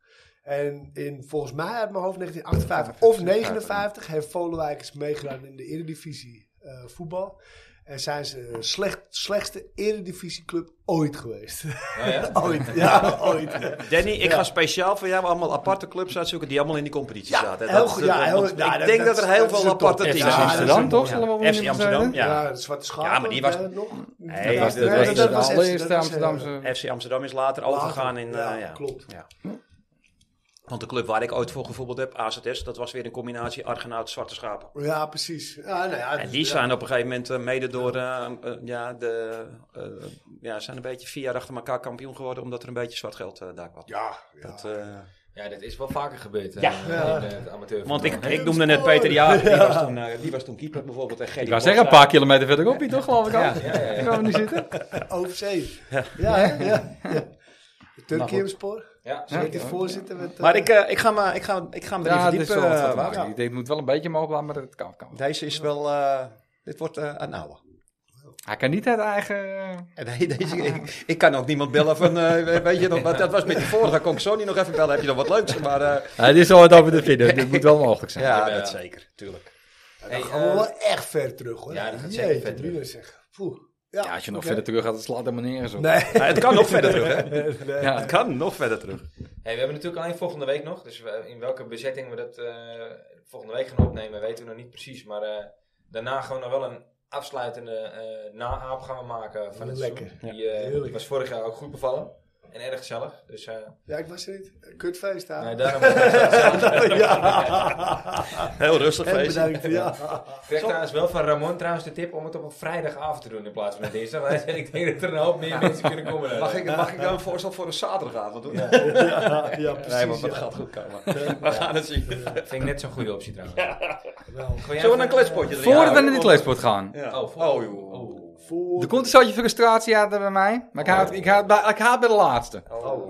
C: En in, volgens mij uit mijn hoofd 1958 of 59 heeft Volenwijkers meegedaan in de Eredivisie eh, voetbal. En zijn ze de slecht, slechtste Eredivisieclub ooit [LAUGHS] geweest.
A: Oh, ja?
C: ooit, ja, ooit.
G: Danny, ik
C: Ja.
G: ga speciaal voor jou allemaal aparte clubs uitzoeken die allemaal in die competitie
C: Ja,
G: zaten.
C: heel goed,
G: eh,
C: ja, heel-
G: want
C: ja,
G: ik
C: dat-
G: denk dat,
C: dat-
G: er heel
C: dat is
G: veel
C: een top.
G: aparte
C: Ja,
G: teams
D: dat is
G: zijn.
D: Amsterdam,
G: Ja.
D: toch? Zullen we opnieuw
G: FC
D: zeggen?
G: Amsterdam,
C: Ja,
G: ja.
C: de Zwarte Schapen.
G: Ja, maar die was-
C: eh, nog.
G: Nee,
D: dat was,
G: dat
D: dat
G: was-
D: was
G: dat
D: de
G: was-
D: allereerste
C: dat was-
D: Amsterdamse...
G: FC Amsterdam is later
C: Later,
G: overgegaan in... eh,
C: ja,
G: ja,
C: klopt.
G: Ja. Want de club waar ik ooit voor gevoetbald heb, AZS, dat was weer een combinatie Argenaut-Zwarte Schapen.
C: Ja, precies. Ja, nou ja,
G: En
C: dus-
G: die
C: ja.
G: zijn op een gegeven moment eh, mede door, eh, eh, ja, de, eh, ja, zijn een beetje vier jaar achter elkaar kampioen geworden, omdat er een beetje zwart geld eh, daar kwam.
C: Ja, ja.
G: Dat, eh,
A: ja, dat is wel vaker gebeurd. eh,
C: Ja.
A: in eh, het amateur.
G: want ik, ik noemde net Peter Jaar, die, was toen, eh, die was toen keeper bijvoorbeeld. En
D: Ik wou zeggen, een paar kilometer verderop hier toch, geloof ik al. Ja,
A: ja, ja.
D: Gaan we niet zitten?
C: [LAUGHS] Over zee. Ja, ja. ja, De Turkierspoor.
A: Ja,
C: Zit die
D: Ja.
C: voorzitter met... eh,
G: Maar ik, eh, ik ga me, ik ga, ik ga me erin
D: Ja, dit is
G: verdiepen.
D: wel wat
G: eh,
D: te
G: Wouter.
D: maken. Ik denk, het moet wel een beetje omhoog laten, maar dat kan. kan.
G: Deze is wel, eh, dit wordt eh, een oude.
D: Hij kan niet uit eigen... eh,
G: En hij- [LAUGHS] deze, ik, ik kan ook niemand bellen van, eh, weet je nog, wat, dat was met die vorige, kon ik Sony nog even bellen, heb je nog wat leuks? Maar eh,
D: Ja, dit is al wat over de video. Dit moet wel mogelijk zijn.
G: ja,
A: ja.
G: dat zeker, tuurlijk.
A: Hey,
C: Dan gaan we
A: eh,
C: wel echt ver terug, hoor.
A: ja, dat gaat
C: Jeetje,
A: zeker ver terug.
C: Mina, zeg. Poeh. Ja,
D: Ja, als je nog
C: oké.
D: verder terug gaat, dan slaat helemaal nergens op.
C: Nee.
G: het kan nog verder terug, hè?
C: Nee.
D: Ja.
G: Het kan nog verder terug.
A: hey, we hebben natuurlijk alleen volgende week nog. Dus we- in welke bezetting we dat eh, volgende week gaan opnemen, weten we nog niet precies. Maar eh, daarna gaan we nog wel een afsluitende eh na-aap gaan we maken van het
C: Lekker.
A: seizoen. Die, eh,
C: Heerlijk.
A: die was vorig jaar ook goed bevallen. En erg gezellig. Dus eh,
C: Ja, ik was er niet. Kutfeest daar.
A: nee, daarom... [LAUGHS]
C: ja.
H: Heel rustig
C: En
H: feestje.
C: bedankt. Ja.
A: Ik kreeg trouwens wel van Ramon trouwens de tip om het op een vrijdagavond te doen in plaats van een dinsdag. Want Hij zei, ik denk dat er een hoop meer mensen kunnen komen. dan.
B: Mag ik, mag ik dan een voorstel voor een zaterdagavond
G: [LAUGHS]
B: doen?
C: Ja, ja, precies.
H: Nee, want dat
C: ja.
H: gaat goed komen. We gaan het zien.
A: Vind ik net zo'n goede optie trouwens.
C: Wel.
A: Gooi jij
H: Zullen we
A: even-
H: een kletspotje drinken?
D: Voordat we naar die kletspot gaan.
H: Ja.
A: Oh, voor-
H: Oh, joh.
G: Nou,
C: Voor...
D: Er komt een soortje frustratie uit bij mij. Maar ik haal het- ik haal het bij- ik haal het bij de laatste.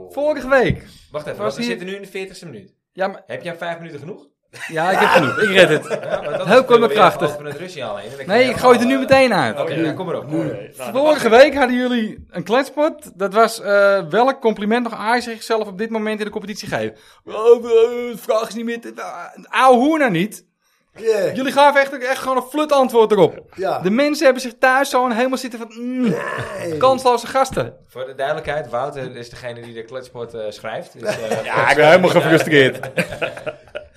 D: Vorige week.
A: Wacht even,
D: Was
A: want we
D: hier-
A: zitten nu in de 40ste minuut.
D: Ja, maar,
A: Heb jij vijf minuten genoeg?
D: ja ik heb genoeg. Ik red [LAUGHS] het.
A: Ja, want dan
D: Heel
A: spelen we weer
D: kortkrachtig.
A: Over het Russiaal heen. En dan
D: Nee,
A: kun
D: ik
A: je
D: gooi het er nu
A: allemaal,
D: meteen
A: eh,
D: uit.
H: Oh,
A: Oké, ja, kom Eh, erop.
H: Oké, nou, dan
D: Vorige week hadden jullie een kletspot. Dat was eh, welk compliment nog Ajax zichzelf op dit moment in de competitie geeft. Oh, eh, de vraag is niet meer... te- ah, Ouwe hoer nou niet.
C: Yeah.
D: Jullie gaven echt, echt gewoon een flut antwoord erop.
C: Ja.
D: De mensen hebben zich thuis zo helemaal zitten van... mm, kansloze gasten.
A: Voor de duidelijkheid, Wouter is degene die de kletspot eh, schrijft. Dus, eh,
H: Ja, ik ben
A: [LAUGHS]
H: helemaal gefrustreerd.
A: maar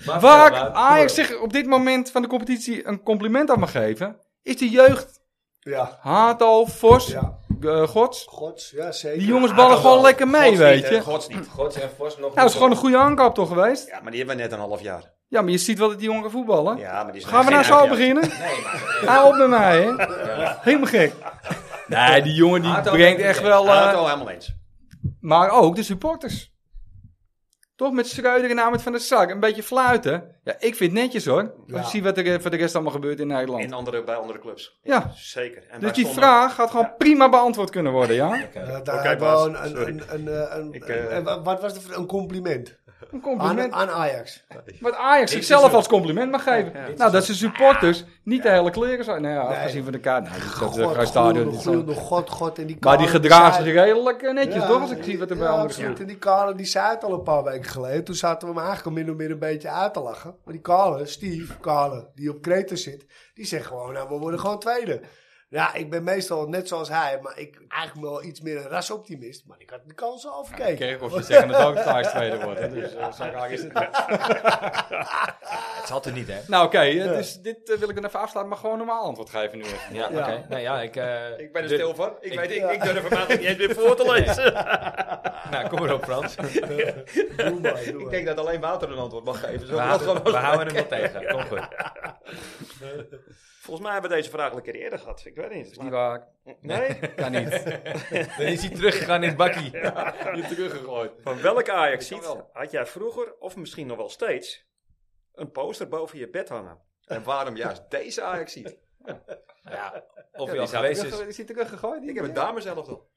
D: Waar
A: vertel, Wouter.
D: Ajax zich op dit moment van de competitie een compliment aan mag geven... is de jeugd.
C: Ja.
D: Hato, Vos,
C: Ja.
D: eh, Gods.
C: Gods, ja zeker.
D: Die jongens ballen gewoon lekker mee, weet je.
H: Gods niet.
A: Gods en Vos nog
D: Nou, dat is gewoon een goede aankoop toch geweest?
B: Ja, maar die hebben we net een half jaar.
D: Ja, maar je ziet wel dat die jongen voetballen.
B: Ja, maar die is
D: Gaan we
B: geen
D: nou zo
B: uitjaar.
D: beginnen?
A: Nee, maar...
D: Hou op met mij, hè? Helemaal gek. Nee, die jongen die
A: Hato
D: brengt
A: brengt
D: echt
A: het.
D: wel... eh,
B: Ja, het al helemaal eens.
D: maar ook de supporters. Toch met Schreuder en Ahmed van der Sar. Een beetje fluiten. Ja, ik vind het netjes hoor. Als je ziet wat er eh, voor de rest allemaal gebeurt in Nederland.
G: In andere, bij andere clubs.
D: Ja,
G: Zeker. eh, En wij
D: dus die
G: stonden-
D: vraag gaat gewoon prima beantwoord kunnen worden, ja?
C: Ja, daar
G: Oké,
C: hebben we
G: baas,
C: een,
G: Oh, sorry.
C: een, een, eh, een,
G: Ik, eh,
C: en wa- wat was het voor een compliment?
D: Een
C: Aan,
D: compliment.
C: aan Ajax.
D: Wat Ajax zichzelf als compliment mag geven. Nou, dat ze supporters niet de hele kleren zijn. Nou ja, afgezien van de kaart. Nou, dat- dat is een groot stadion.
C: gloeiende,
D: dat is
C: gloeiende God, God. En die
D: Maar
C: kale
D: die gedragen zich
C: zei-
D: redelijk eh, netjes,
C: Ja,
D: toch? Als ik zie wat er bij
C: ja,
D: andere
C: absoluut.
D: gebeurt.
C: En die Karel die zei het al een paar weken geleden. Toen zaten we hem eigenlijk al min of meer een beetje uit te lachen. Maar die Karel, Steve Karel, die op Kreta zit, die zegt gewoon: Nou, we worden gewoon tweede. Ja, ik ben meestal net zoals hij, maar ik eigenlijk wel iets meer een rasoptimist. Maar ik had de kans al verkeken.
D: Kerkhoff die zeggen dat ook Ajax tweede wordt. hè. Dus eh, zo raar is het niet.
A: Het zat er niet, hè?
D: Nou oké, eh, dus dit eh, wil ik dan even afsluiten, maar gewoon een normaal antwoord geven nu even.
A: Ja, oké. Nou ja, ik... eh,
H: Ik ben
G: dus
H: er
A: de-
H: stil van. Ik, weet, ik, ik durf hem [LAUGHS] eigenlijk niet eens meer voor te lezen.
A: Nou, kom erop, Frans.
C: Doe maar, doe
H: Ik
C: maar.
H: denk dat alleen Wouter een antwoord mag geven. Zo
A: We
H: mag
A: houden,
H: gewoon-
A: we houden hem wel tegen. Kom goed.
G: Volgens mij hebben we deze vraag al een keer eerder gehad. Ik weet niet.
D: Niet waar,
G: Nee?
D: kan niet.
A: Dan is hij teruggegaan in het bakkie.
D: Je teruggegooid.
G: Van welke Ajax
H: Dat kan wel.
G: had jij vroeger, of misschien nog wel steeds, een poster boven je bed hangen?
H: En waarom juist deze Ajax ziet?
A: Nou Ja, of hij al geweest is.
D: Is hij teruggegooid?
H: Ik heb het daar mezelf al.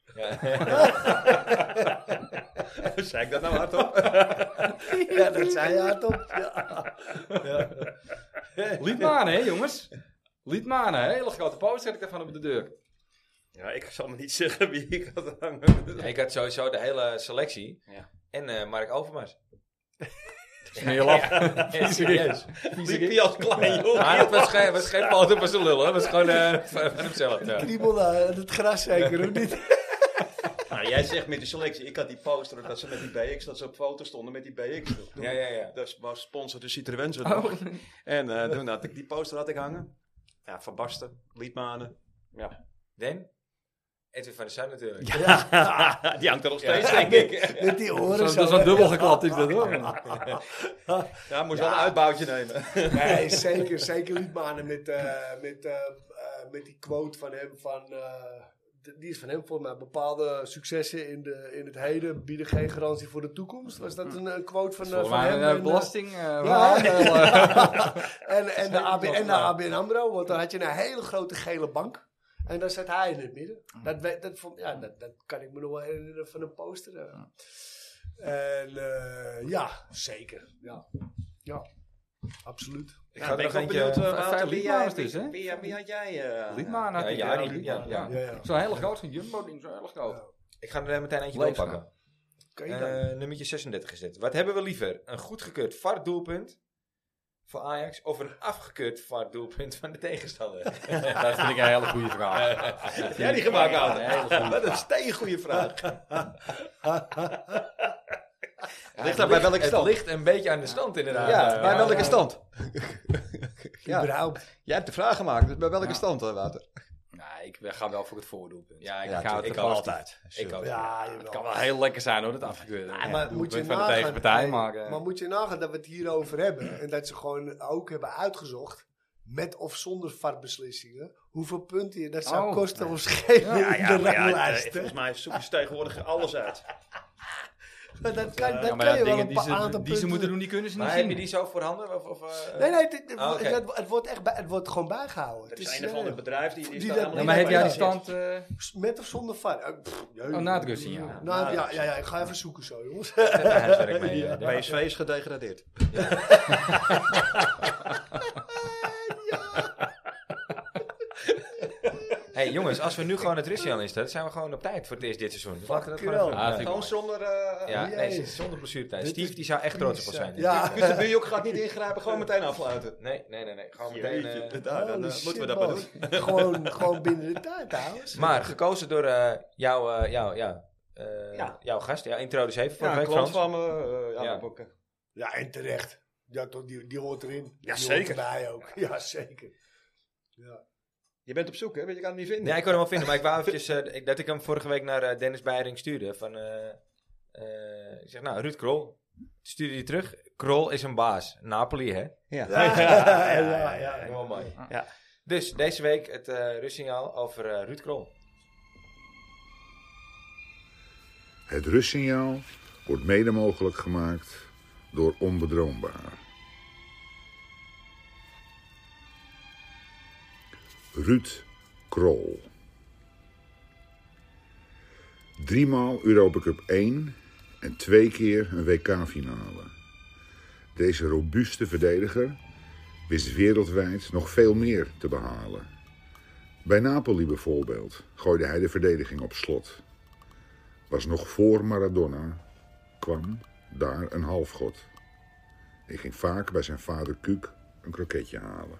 H: Zeg ik dat nou hard op?
C: [LAUGHS] Ja, dat zei hij hardop.
D: Liet maar aan, hè jongens. Liet maar aan, hè. Hele grote post zet ik daarvan op de deur.
G: Ja, ik zal me niet zeggen wie ik had hangen.
A: Ja, ik had sowieso de hele selectie.
G: Ja.
A: En eh, Mark Overmars.
D: Smeerlap.
A: Ja, serieus.
G: Liep hij als klein jongen?
A: Maar het was geen, was geen foto van zijn lul, hè. Het was gewoon eh, van van hemzelf. ja.
C: Kriebel daar in eh, het gras zeker, of [LAUGHS] niet?
H: Nou, jij zegt met de selectie. Ik had die poster dat ze met die BX, dat ze op foto stonden met die BX.
A: Ja, ja, ja.
H: Dat was sponsor de Citroën zo nog. En eh, toen had ik die poster had ik hangen. Ja, Van Basten, Liedmanen.
A: Den? Edwin van der Sar natuurlijk.
H: die hangt er nog
A: Ja.
H: steeds, denk ik.
C: Met die oren
D: Dat is
C: zo.
D: wel dubbel geklapt, is dat hoor.
H: Ja, moest wel een uitbouwtje nemen.
D: [LAUGHS]
C: Nee, zeker, zeker Liedmanen met, eh, met, eh, eh, met die quote van hem van... eh, d- die is van hem volgens mij. Bepaalde successen in, de, in het heden bieden geen garantie voor de toekomst. Was dat een, eh, quote van, eh,
D: Hm. Volgens
C: van
D: mij
C: hem?
D: een
C: En,
D: eh,
C: eh,
D: belasting... eh,
C: Ja.
D: verhaal, eh,
C: en, en, de AB, en de ABN AMRO, want dan had je een hele grote gele bank. En daar zat hij in het midden.
D: Hm.
C: Dat, we- dat, vond- ja, dat, dat kan ik me nog wel herinneren van een poster. eh. En eh, ja, zeker. Ja, ja absoluut.
A: Ik
H: Ja,
A: ga er
H: ben
A: nog
H: ik wel
A: eentje...
H: benieuwd, eh, Wouter,
D: vijf
H: wie
D: Liedmanens
H: jij-
D: dus, hè?
H: wie- Wie had jij? eh,
D: Liedmanen had
A: Ja,
D: ik,
A: ja,
D: eh, [LAUGHS]
A: die-
D: Liedmanen,
A: ja,
C: Ja, ja.
D: Zo'n hele groot, zo'n jumbo-ding, zo'n hele groot.
A: Ik ga er meteen eentje
D: Leefstaan.
A: oppakken.
C: Kan je dan?
A: Eh nummertje 36 is dit. Wat hebben we liever? Een goedgekeurd VAR-doelpunt voor Ajax of een afgekeurd VAR-doelpunt van de
D: [LAUGHS]
A: tegenstander?
D: Dat vind ik een hele goede vraag.
A: [LAUGHS]
H: Heb jij die gemaakt, [LAUGHS]
D: Ja, een hele
H: Wouter? Wat een steengoeie vraag. ligt daar bij welke
A: Het
H: stand?
A: ligt een beetje aan de stand inderdaad.
H: ja,
A: Eh,
H: bij welke stand? ja.
C: Überhaupt.
H: Jij hebt de vraag gemaakt, dus bij welke
D: Ja.
H: stand, eh, Wouter?
D: Nee, Nou, ik ga wel voor het voordoelpunt.
A: Ja,
H: Ja,
A: ik ga
H: tuurlijk,
A: het
H: ik
A: ik
H: kan altijd.
A: Ik ook.
C: Ja,
D: Het
C: jawel.
D: kan wel heel lekker zijn hoor, dat afgekeurd. wordt.
H: Ja,
C: maar moet je
D: doelpunt van de
C: nagaan-
D: tegenpartij, maar, eh.
C: maar moet je nagaan dat we het hierover hebben. En dat ze gewoon ook hebben uitgezocht. Met of zonder VAR-beslissingen. Hoeveel punten je dat zou
D: Oh.
C: kosten of schelen
G: Ja,
C: in de
G: ja, maar ja,
C: ranglijst.
G: eh,
C: hè?
G: volgens mij zoek je tegenwoordig alles uit.
C: Maar dat kan, dat
D: Ja, maar
C: kan
D: ja,
C: je wel
D: dingen
C: een
D: die
C: paar aantal
D: ze, die ze
C: punten-
D: moeten doen, die kunnen ze niet
A: Maar heb je
D: zien.
A: die zo voorhanden? Of, of, eh,
C: Nee, nee, dit- dit-
A: Ah, oké.
C: het, het wordt echt bij, het wordt gewoon bijgehouden.
G: Er
C: Het
G: is
C: is,
G: een of
C: eh,
G: ander bedrijf die, die is
C: Die
G: daar
C: dat-
G: helemaal
D: Ja,
G: niet
D: maar heb
G: bij
D: jij die
G: betrokken.
D: stand... eh,
C: met of zonder VAR. Eh, pff, jeu.
D: Oh, na het rusten, ja.
C: Nou,
G: Na
C: ja,
G: het
C: ja,
G: rusten.
C: ja, ik ga even zoeken zo, jongens.
A: even huiswerk
D: [LAUGHS]
A: mee, eh, doen?
H: PSV is gedegradeerd.
A: hey, jongens, als we nu gewoon het Russian is, dat zijn we gewoon op tijd voor het eerst dit seizoen. Dus laten we dat
C: Fucking
A: gewoon even
C: hell.
A: doen.
D: Ah,
A: Ja.
H: Gewoon zonder... eh,
A: Ja, nee,
C: Jezus.
A: zonder blessuretijd.
C: Dit
A: Steve,
C: is
A: die zou echt trots op ons zijn.
C: Ja.
H: Kus de buurjok gaat niet ingrijpen, gewoon meteen afluiten.
A: Nee, nee, nee, nee. Gewoon meteen... eh,
H: Jeetje, daar, dan
C: Holy
H: eh,
C: shit,
H: moeten we dat maar
C: man.
H: doen.
C: gewoon, gewoon binnen de tijd, trouwens.
A: Maar gekozen door eh jouw, eh, jouw, ja, eh,
H: Ja.
A: jouw gast, ja, intro dus even, vorige
H: Ja, een
A: week
H: klant
A: Frans.
H: van me. eh, ja,
A: Ja.
H: maar ook, eh,
C: Ja, en terecht. Ja, toch, die, die hoort erin.
H: Ja,
C: die
H: zeker.
C: Hoort erbij ook. [LAUGHS] Ja, zeker.
H: Je bent op zoek, hè? want Je kan hem niet vinden.
A: Ja, ik kon hem wel vinden, maar ik wou eventjes eh, [LAUGHS] ik- dat ik hem vorige week naar eh, Dennis Beiring stuurde. Van, eh, eh, ik zeg, nou, Ruud Krol. Toen Stuurde hij terug. Krol is een baas. Napoli, hè?
H: Ja.
C: Ja, ja, ja.
A: Heel mooi.
H: Ja.
A: Dus deze week het eh rustsignaal over eh, Ruud Krol.
I: Het rustsignaal wordt mede mogelijk gemaakt door onbedroombaar. Ruud Krol. Driemaal Europa Cup 1 en twee keer een WK-finale. Deze robuuste verdediger wist wereldwijd nog veel meer te behalen. Bij Napoli bijvoorbeeld gooide hij de verdediging op slot was nog voor Maradona, kwam daar een halfgod. Ik ging vaak bij zijn vader Kuuk een kroketje halen.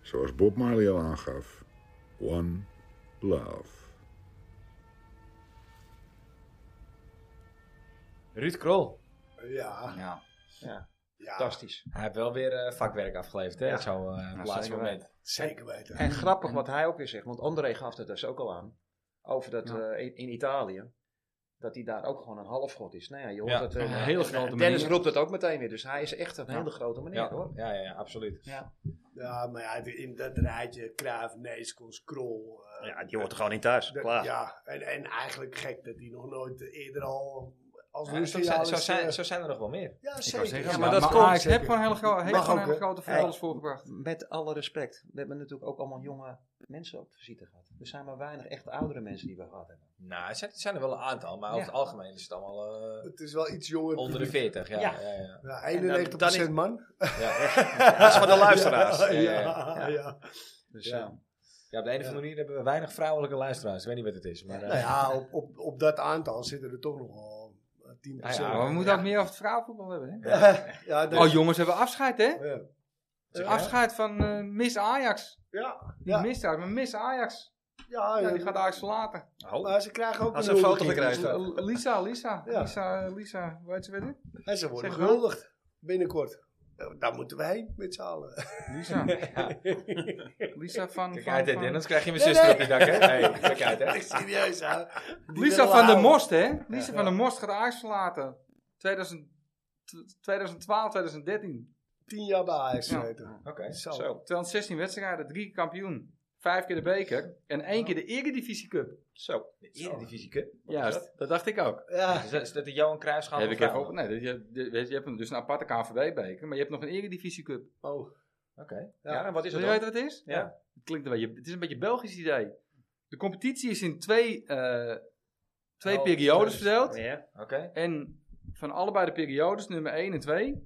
I: Zoals Bob Marley al aangaf, one love.
A: Ruud Krol.
C: Ja,
D: Ja,
C: ja
H: Fantastisch.
A: Hij heeft wel weer eh, vakwerk afgeleverd, hè? Zo eh, op het laatste
H: zeker
A: moment.
C: zeker weten.
H: En grappig wat hij ook weer zegt, want André gaf het dus ook al aan. Over dat
D: Ja.
H: eh, in, in Italië, dat hij daar ook gewoon een halfgod is. Nou ja, je hoort
A: Ja,
H: dat.
D: op
H: eh,
D: een hele
H: eh,
D: grote
H: Dennis
D: manier.
H: roept dat ook meteen weer, dus hij is echt een
D: Ja.
H: hele grote meneer
A: Ja,
H: hoor.
A: ja, ja, ja, absoluut.
C: Ja, maar ja, die- in dat rijtje, Kruif, Neeskons, Krol. eh,
G: Ja, die hoort er gewoon in thuis.
C: dat-
G: Klaar.
C: Ja, en, en eigenlijk gek dat die nog nooit eerder al als
A: Ja, zo,
C: rustsignaal
A: zijn,
C: is,
A: zo, zijn,
C: eh,
A: zo zijn er nog wel meer.
C: Ja,
D: ik wou
C: zeker.
D: zeggen,
C: Ja,
D: maar,
C: maar dat
D: maar
C: komt.
D: Ajax heeft
C: zeker.
D: gewoon hele, gro- heeft
C: Mag
D: gewoon
C: ook,
D: hele
C: hè?
D: grote verhaaltjes voorgebracht.
H: Met alle respect, we hebben natuurlijk ook allemaal jonge mensen op visite gehad. Er zijn maar weinig echt oudere mensen die we gehad hebben.
A: Nou, er zijn, er zijn er wel een aantal, maar over
H: Ja.
A: het algemeen is het allemaal eh,
C: Het is wel iets jonger.
A: onder de 40. Ja,
H: Ja.
A: ja. Ja, [LAUGHS] ja,
C: Ja, 91% man.
A: ja.
G: Dat is van de luisteraars.
C: [LAUGHS] Ja,
A: ja,
C: ja, ja.
H: Dus,
C: Ja.
H: eh,
A: Ja, op de een of andere manier hebben we weinig vrouwelijke luisteraars. Ik weet niet wat het is. Maar, eh,
C: Nou ja, op, op, op dat aantal zitten er toch nog wel 10%.
A: Ja, ja,
D: Maar we moeten ook meer over het vrouwenvoetbal hebben. Hè?
C: Ja, dat-
D: Oh, jongens hebben afscheid, hè?
C: ja.
D: Afscheid van eh, Miss Ajax.
C: Ja,
D: Niet
C: Ja.
D: Miss Ajax, maar Miss Ajax.
C: ja,
D: Ja, die gaat Ajax verlaten.
C: Maar ze krijgen ook
G: Als
C: een
G: een foto
C: huldiging.
G: gekregen.
C: Dus,
D: L- Lisa, Lisa.
C: Ja.
D: Lisa, eh, Lisa, hoe heet ze weer?
C: eh, En ze worden
D: Zeg maar.
C: gehuldigd binnenkort. Nou, Daar moeten we heen met z'n allen. [LAUGHS]
D: Lisa. Lisa van...
A: Kijk
D: van-
A: uit, hè,
D: van-
A: Dennis. krijg je mijn
C: Nee,
A: zuster
C: nee.
A: op je dak, hè? Nee, kijk uit, hè?
C: Echt serieus, hè? Die willen
D: Lisa van der
C: houden.
D: Most, hè? Lisa van
C: Ja.
D: der Most gaat Ajax verlaten. 2000 2012, 2013.
C: Tien jaar bij Ajax
D: Ja.
C: gezeten.
A: Oké.
C: Zo.
G: Zo.
D: 216 wedstrijden, drie keer kampioen. Vijf keer de beker en één keer de Eredivisie Cup.
G: Zo.
A: De Eredivisie Cup.
D: Juist, dat dacht ik ook.
C: Ja.
A: Is dat, is dat de Johan Cruijffschaal?
D: Heb ik even op. Nee, je, je, weet je, je hebt een- dus een aparte KNVB-beker, maar je hebt nog een Eredivisie Cup.
C: Oh.
A: Oké.
C: Ja.
A: Ja, en wat is
D: Wil
A: het
D: je
A: dan?
D: weten wat het is?
A: Ja.
D: Het, klinkt een beetje, het is een beetje een Belgisch idee. De competitie is in twee, eh, twee
A: Oh,
D: periodes
A: dus-
D: verdeeld.
G: Ja.
A: Oké.
D: En van allebei de periodes, nummer 1 en 2, die,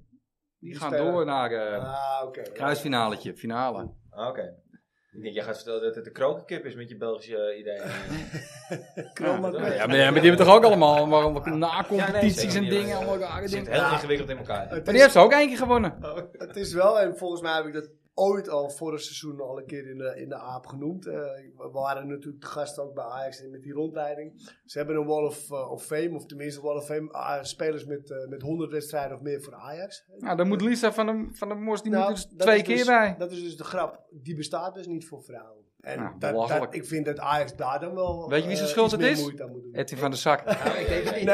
C: Die
D: gaan
C: spelen.
D: door naar eh
C: Ah, oké.
D: kruisfinaletje, finale.
A: Ah, Oké. Ik denk, jij gaat vertellen dat het de Krokencup is met je Belgische eh, ideeën.
C: Chroma-
A: Ja, maar-
D: Ja, maar, ja, maar die hebben toch ook allemaal allemaal
A: Ja, nee,
D: na-competities
A: zeker.
D: en dingen. Allemaal rare
A: Het zit
D: dingen.
A: heel
D: Maar
A: ingewikkeld in elkaar.
C: Het
D: die
C: is,
D: heeft ze ook eentje gewonnen.
C: het is wel, en volgens mij heb ik dat ooit al vorig seizoen al een keer in de, in de aap genoemd. Eh, we waren natuurlijk de gast ook bij Ajax en met die rondleiding. Ze hebben een Wall of, eh, of Fame, of tenminste Wall of Fame, ah, spelers met, eh, met 100 wedstrijden of meer voor Ajax.
D: Nou, dan moet Lisa van de, van de Mos, die
C: Nou,
D: moet er dus
C: dat
D: twee
C: is
D: keer
C: dus-
D: bij.
C: Dat is dus de grap. Die bestaat dus niet voor vrouwen. En
D: Nou,
C: dat- dat,
D: belachelijk.
C: ik vind dat Ajax daar dan wel
D: Weet je wie zijn
C: eh,
D: schuld
C: iets
D: het
C: meer
D: is?
C: moeite aan moet doen.
D: Etty van de Zak.
C: Nou, ik denk het niet.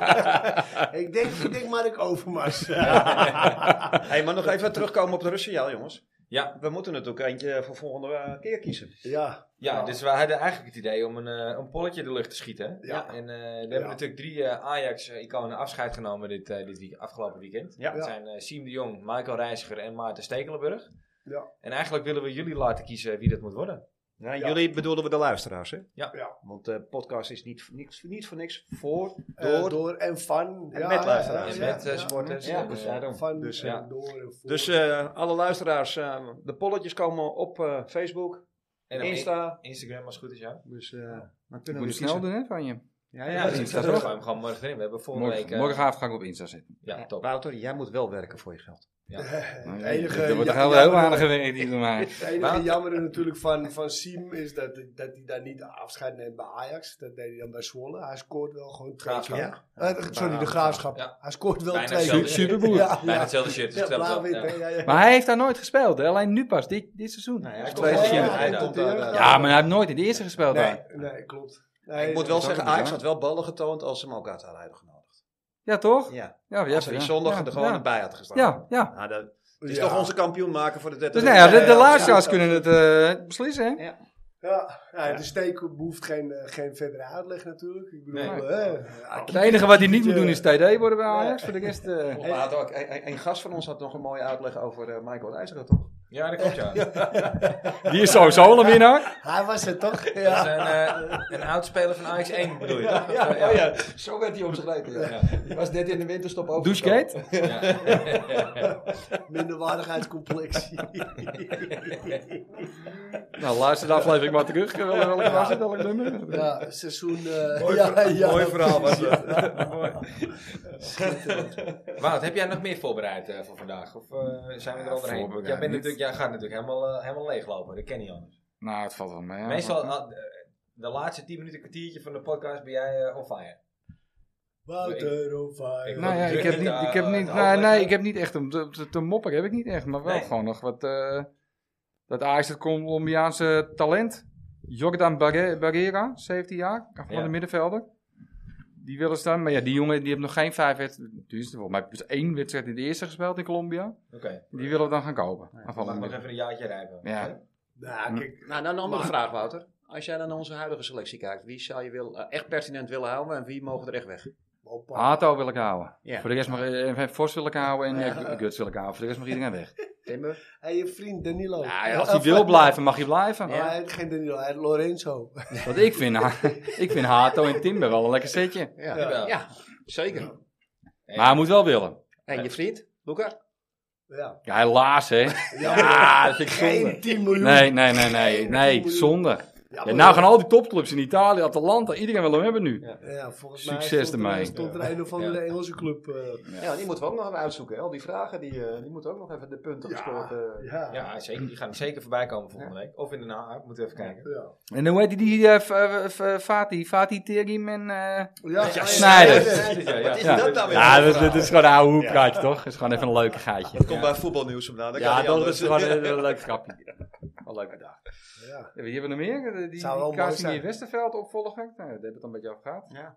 C: [LAUGHS] ik, denk, ik denk Mark Overmars.
G: eh, Hey, maar nog even terugkomen op de Russiaal, jongens.
A: Ja.
G: We moeten natuurlijk eentje voor volgende eh, keer kiezen.
C: ja.
A: Ja,
C: Nou.
A: dus we hadden eigenlijk het idee om een, eh, een polletje de lucht te schieten. hè?
C: Ja.
A: En eh, we
C: Ja.
A: hebben natuurlijk drie eh, Ajax-iconen afscheid genomen dit, eh, dit week, afgelopen weekend.
G: Ja.
A: Dat zijn eh Siem de Jong, Michael Reiziger en Maarten Stekelenburg.
C: Ja.
A: En eigenlijk willen we jullie laten kiezen wie dat moet worden.
G: Ja,
C: Ja.
G: Jullie bedoelden we de luisteraars, hè?
A: Ja.
C: Ja.
G: Want de podcast is niet, niet, niet voor niks voor,
C: Eh,
G: door.
C: door en van.
G: En met luisteraars.
A: En
G: Ja,
A: met eh,
C: ja.
A: supporters.
G: Ja,
A: en,
G: dus
A: eh,
G: daarom.
C: Van,
G: Dus,
C: en
A: ja.
C: door en voor.
G: Dus eh, alle luisteraars, eh, de polletjes komen op eh, Facebook,
A: en dan
G: Insta.
D: E-
A: Instagram als het goed is, ja.
G: Dus eh, dan
D: Dat
G: kunnen
D: moet je
G: we
D: snel
G: kiezen.
D: doen, dus hè, van je.
G: Ja,
A: Ja,
G: ja,
A: dus
D: Insta
A: dat
D: toch?
A: gaan we hem gewoon morgen erin. We hebben volgende
D: Morgen,
A: week... eh,
D: morgenavond ga ik op Insta zetten.
A: Ja, top.
G: Wouter, jij moet wel werken voor je geld.
D: Nou,
C: Het
D: ja,
C: enige
D: dat wordt
C: ja-
D: toch heel, heel
C: jammer-
D: aardig gewerkt hier door
C: [LAUGHS]
D: mij.
G: [LAUGHS]
C: Het enige jammer natuurlijk van, van Siem is dat, dat hij daar niet afscheid neemt bij Ajax. Dat deed hij dan bij Zwolle. Hij scoort wel gewoon twee keer.
A: Graafschap.
C: Ja. Eh, sorry, de Graafschap.
A: Ja.
C: Hij scoort wel
A: Bijna
C: twee keer.
A: hetzelfde. Superboer.
C: Ja,
A: Bijna
C: ja.
A: hetzelfde shit. Dus
C: Ja,
A: dat telt wel.
C: blauw-wit,
A: Ja.
C: hè, ja, ja.
D: Maar hij heeft daar nooit gespeeld, hè? alleen nu pas, dit, dit seizoen. Dus
G: hij
A: hij
G: is
A: komt
G: tweede
A: wel-
G: keer.
A: ja,
G: Hij
A: hij
G: komt
C: komt
G: daar,
C: weer.
G: eh,
D: Ja, maar hij heeft nooit in de eerste gespeeld. hè.
C: Nee, nee, klopt. Nee,
G: Ik moet
D: dat
G: wel
D: is
G: zeggen,
D: ook niet
G: Ajax
D: waar.
G: had wel ballen getoond als ze hem ook uit hadden uitgenodigd.
D: Ja, toch?
G: Ja.
D: Ja, ja,
G: Als ze die
D: ja.
G: zondag
D: Ja,
G: er gewoon
D: ja.
G: bij had gestaan.
D: Ja, ja.
G: Nou, dat het is
C: Ja.
G: toch onze kampioen maken voor de 30
D: Dus nou ja, de, de
C: ja,
D: luisteraars
C: ja.
D: kunnen het eh, beslissen, hè?
C: Ja, ja, de steek behoeft geen, eh, geen verdere uitleg natuurlijk. Ik bedoel,
A: Nee.
C: eh,
D: Het enige wat hij niet moet doen is TD worden bij Ajax. Voor de rest...
G: [LAUGHS]
D: eh,
G: Maar had ook- een, een- een gast van ons had nog een mooie uitleg over eh, Michael Reiziger, toch?
A: Ja, dat klopt, ja.
D: Die is sowieso een winnaar.
C: Hij was het
G: [LAUGHS]
C: toch?
A: Dat is
C: Ja.
A: een, eh, een oud-speler van Ajax 1, bedoel je, toch?
G: Ja,
A: Of, eh,
G: oh ja, zo werd hij omschreven. Ja. Die was net in de winterstop over.
D: Douchegate?
C: Minderwaardigheidscomplex.
D: Nou, luister de aflevering maar terug. eh, Welk was het, welk nummer?
C: [LAUGHS] ja, seizoen... eh, ja, ja,
G: Mooi verhaal was dat.
A: Wout, heb jij nog meer voorbereid eh, voor vandaag? Of eh, zijn we er al doorheen? Want Jij, bent
D: voorbereid niet.
A: natuurlijk, jij gaat natuurlijk helemaal, eh, helemaal leeglopen. Dat ken je anders.
D: Nou, het valt wel mee.
A: Meestal, ah, de- de laatste 10 minuten, kwartiertje van de podcast ben jij eh, on fire.
C: Wouter on fire.
D: Nou ja,
A: Druk
D: ik heb
A: niet
D: niet,
A: aan-
D: ik heb niet,
A: aan
D: nou,
A: opleggen.
D: nee, ik heb niet echt om te, te- te mopperen, heb ik niet echt. Maar wel
A: Nee.
D: gewoon nog wat, eh, dat Ajax het Colombiaanse talent, Jordan Barre- Barrera, 17 jaar, van
A: Ja.
D: de middenvelder. Die willen staan, maar ja, die jongen die heeft nog geen vijf wedstrijden, dus volgens mij dus één wedstrijd in de eerste gespeeld in Colombia.
A: Oké,
D: Die willen we dan gaan kopen. Aanvallende
A: mag nog
D: middenvelder.
A: even een jaartje rijpen.
D: Ja.
A: Oké?
C: Nou, kijk,
G: Nou, dan een andere
C: Maar-
G: vraag, Wouter. Als jij naar onze huidige selectie kijkt, wie zou je wil, eh, echt pertinent willen houden en wie mogen er echt weg?
C: Opa.
D: Hato wil ik houden.
G: Ja.
D: Voor de rest mag eh, Vos wil ik houden en eh, Guts wil ik houden. Voor de rest mag iedereen weg.
G: Timber?
C: Hey, je vriend Danilo.
D: Nou ja, als hij wil blijven, mag hij blijven.
C: Ja, hij heeft geen Danilo, hij heeft Lorenzo.
D: Want ik vind, Ha- [LAUGHS] ik vind Hato en Timber wel een lekker setje.
G: Ja,
A: Jawel.
G: ja zeker.
D: Maar hij moet wel willen.
G: En je vriend, Luca?
C: Ja.
D: Ja, helaas hè. Ja, dat vind ik
C: Geen
D: zonde.
C: 10 miljoen.
D: Nee, nee, nee, nee. Nee, zonde.
C: Ja,
D: Ja,
C: maar-
D: nou gaan al die topclubs in Italië, Atalanta, iedereen wil hem hebben nu.
C: Ja, volgens mij
D: Succes
C: stond er-
D: ermee.
C: stond er een of andere Engelse club. eh,
G: Ja. die moeten we ook nog even uitzoeken. Al die vragen, die, eh, die moeten ook nog even de punten gescoord. eh.
C: ja.
A: Ja, zeker. Die gaan zeker voorbij komen volgende week. Of in Den Haag, moeten we even kijken.
C: Ja.
D: En hoe heet die, die eh, F- eh, F- eh, Fatih? Fatih Terim en... eh,
C: Ja, ja,
D: Sneijder.
A: Ja, ja.
G: Is
D: Ja,
G: dat nou weer
D: ja
G: een
D: dat, dat is gewoon een oude hoekpraatje, toch? Dat is gewoon even een leuke gaatje.
G: Kom bij voetbalnieuws vandaan. dan kan
D: Ja,
G: die
D: dat
G: anderen-
D: is gewoon een, een leuk grapje. Een leuke dag.
C: Ja.
D: Ja, wie hebben we nog meer? Eh, Die,
C: Zou wel
D: die
C: mooi
D: Casimir
C: zijn.
D: Westerveld opvolger. Nou, daar hebben we het een beetje over gehad.
G: Ja.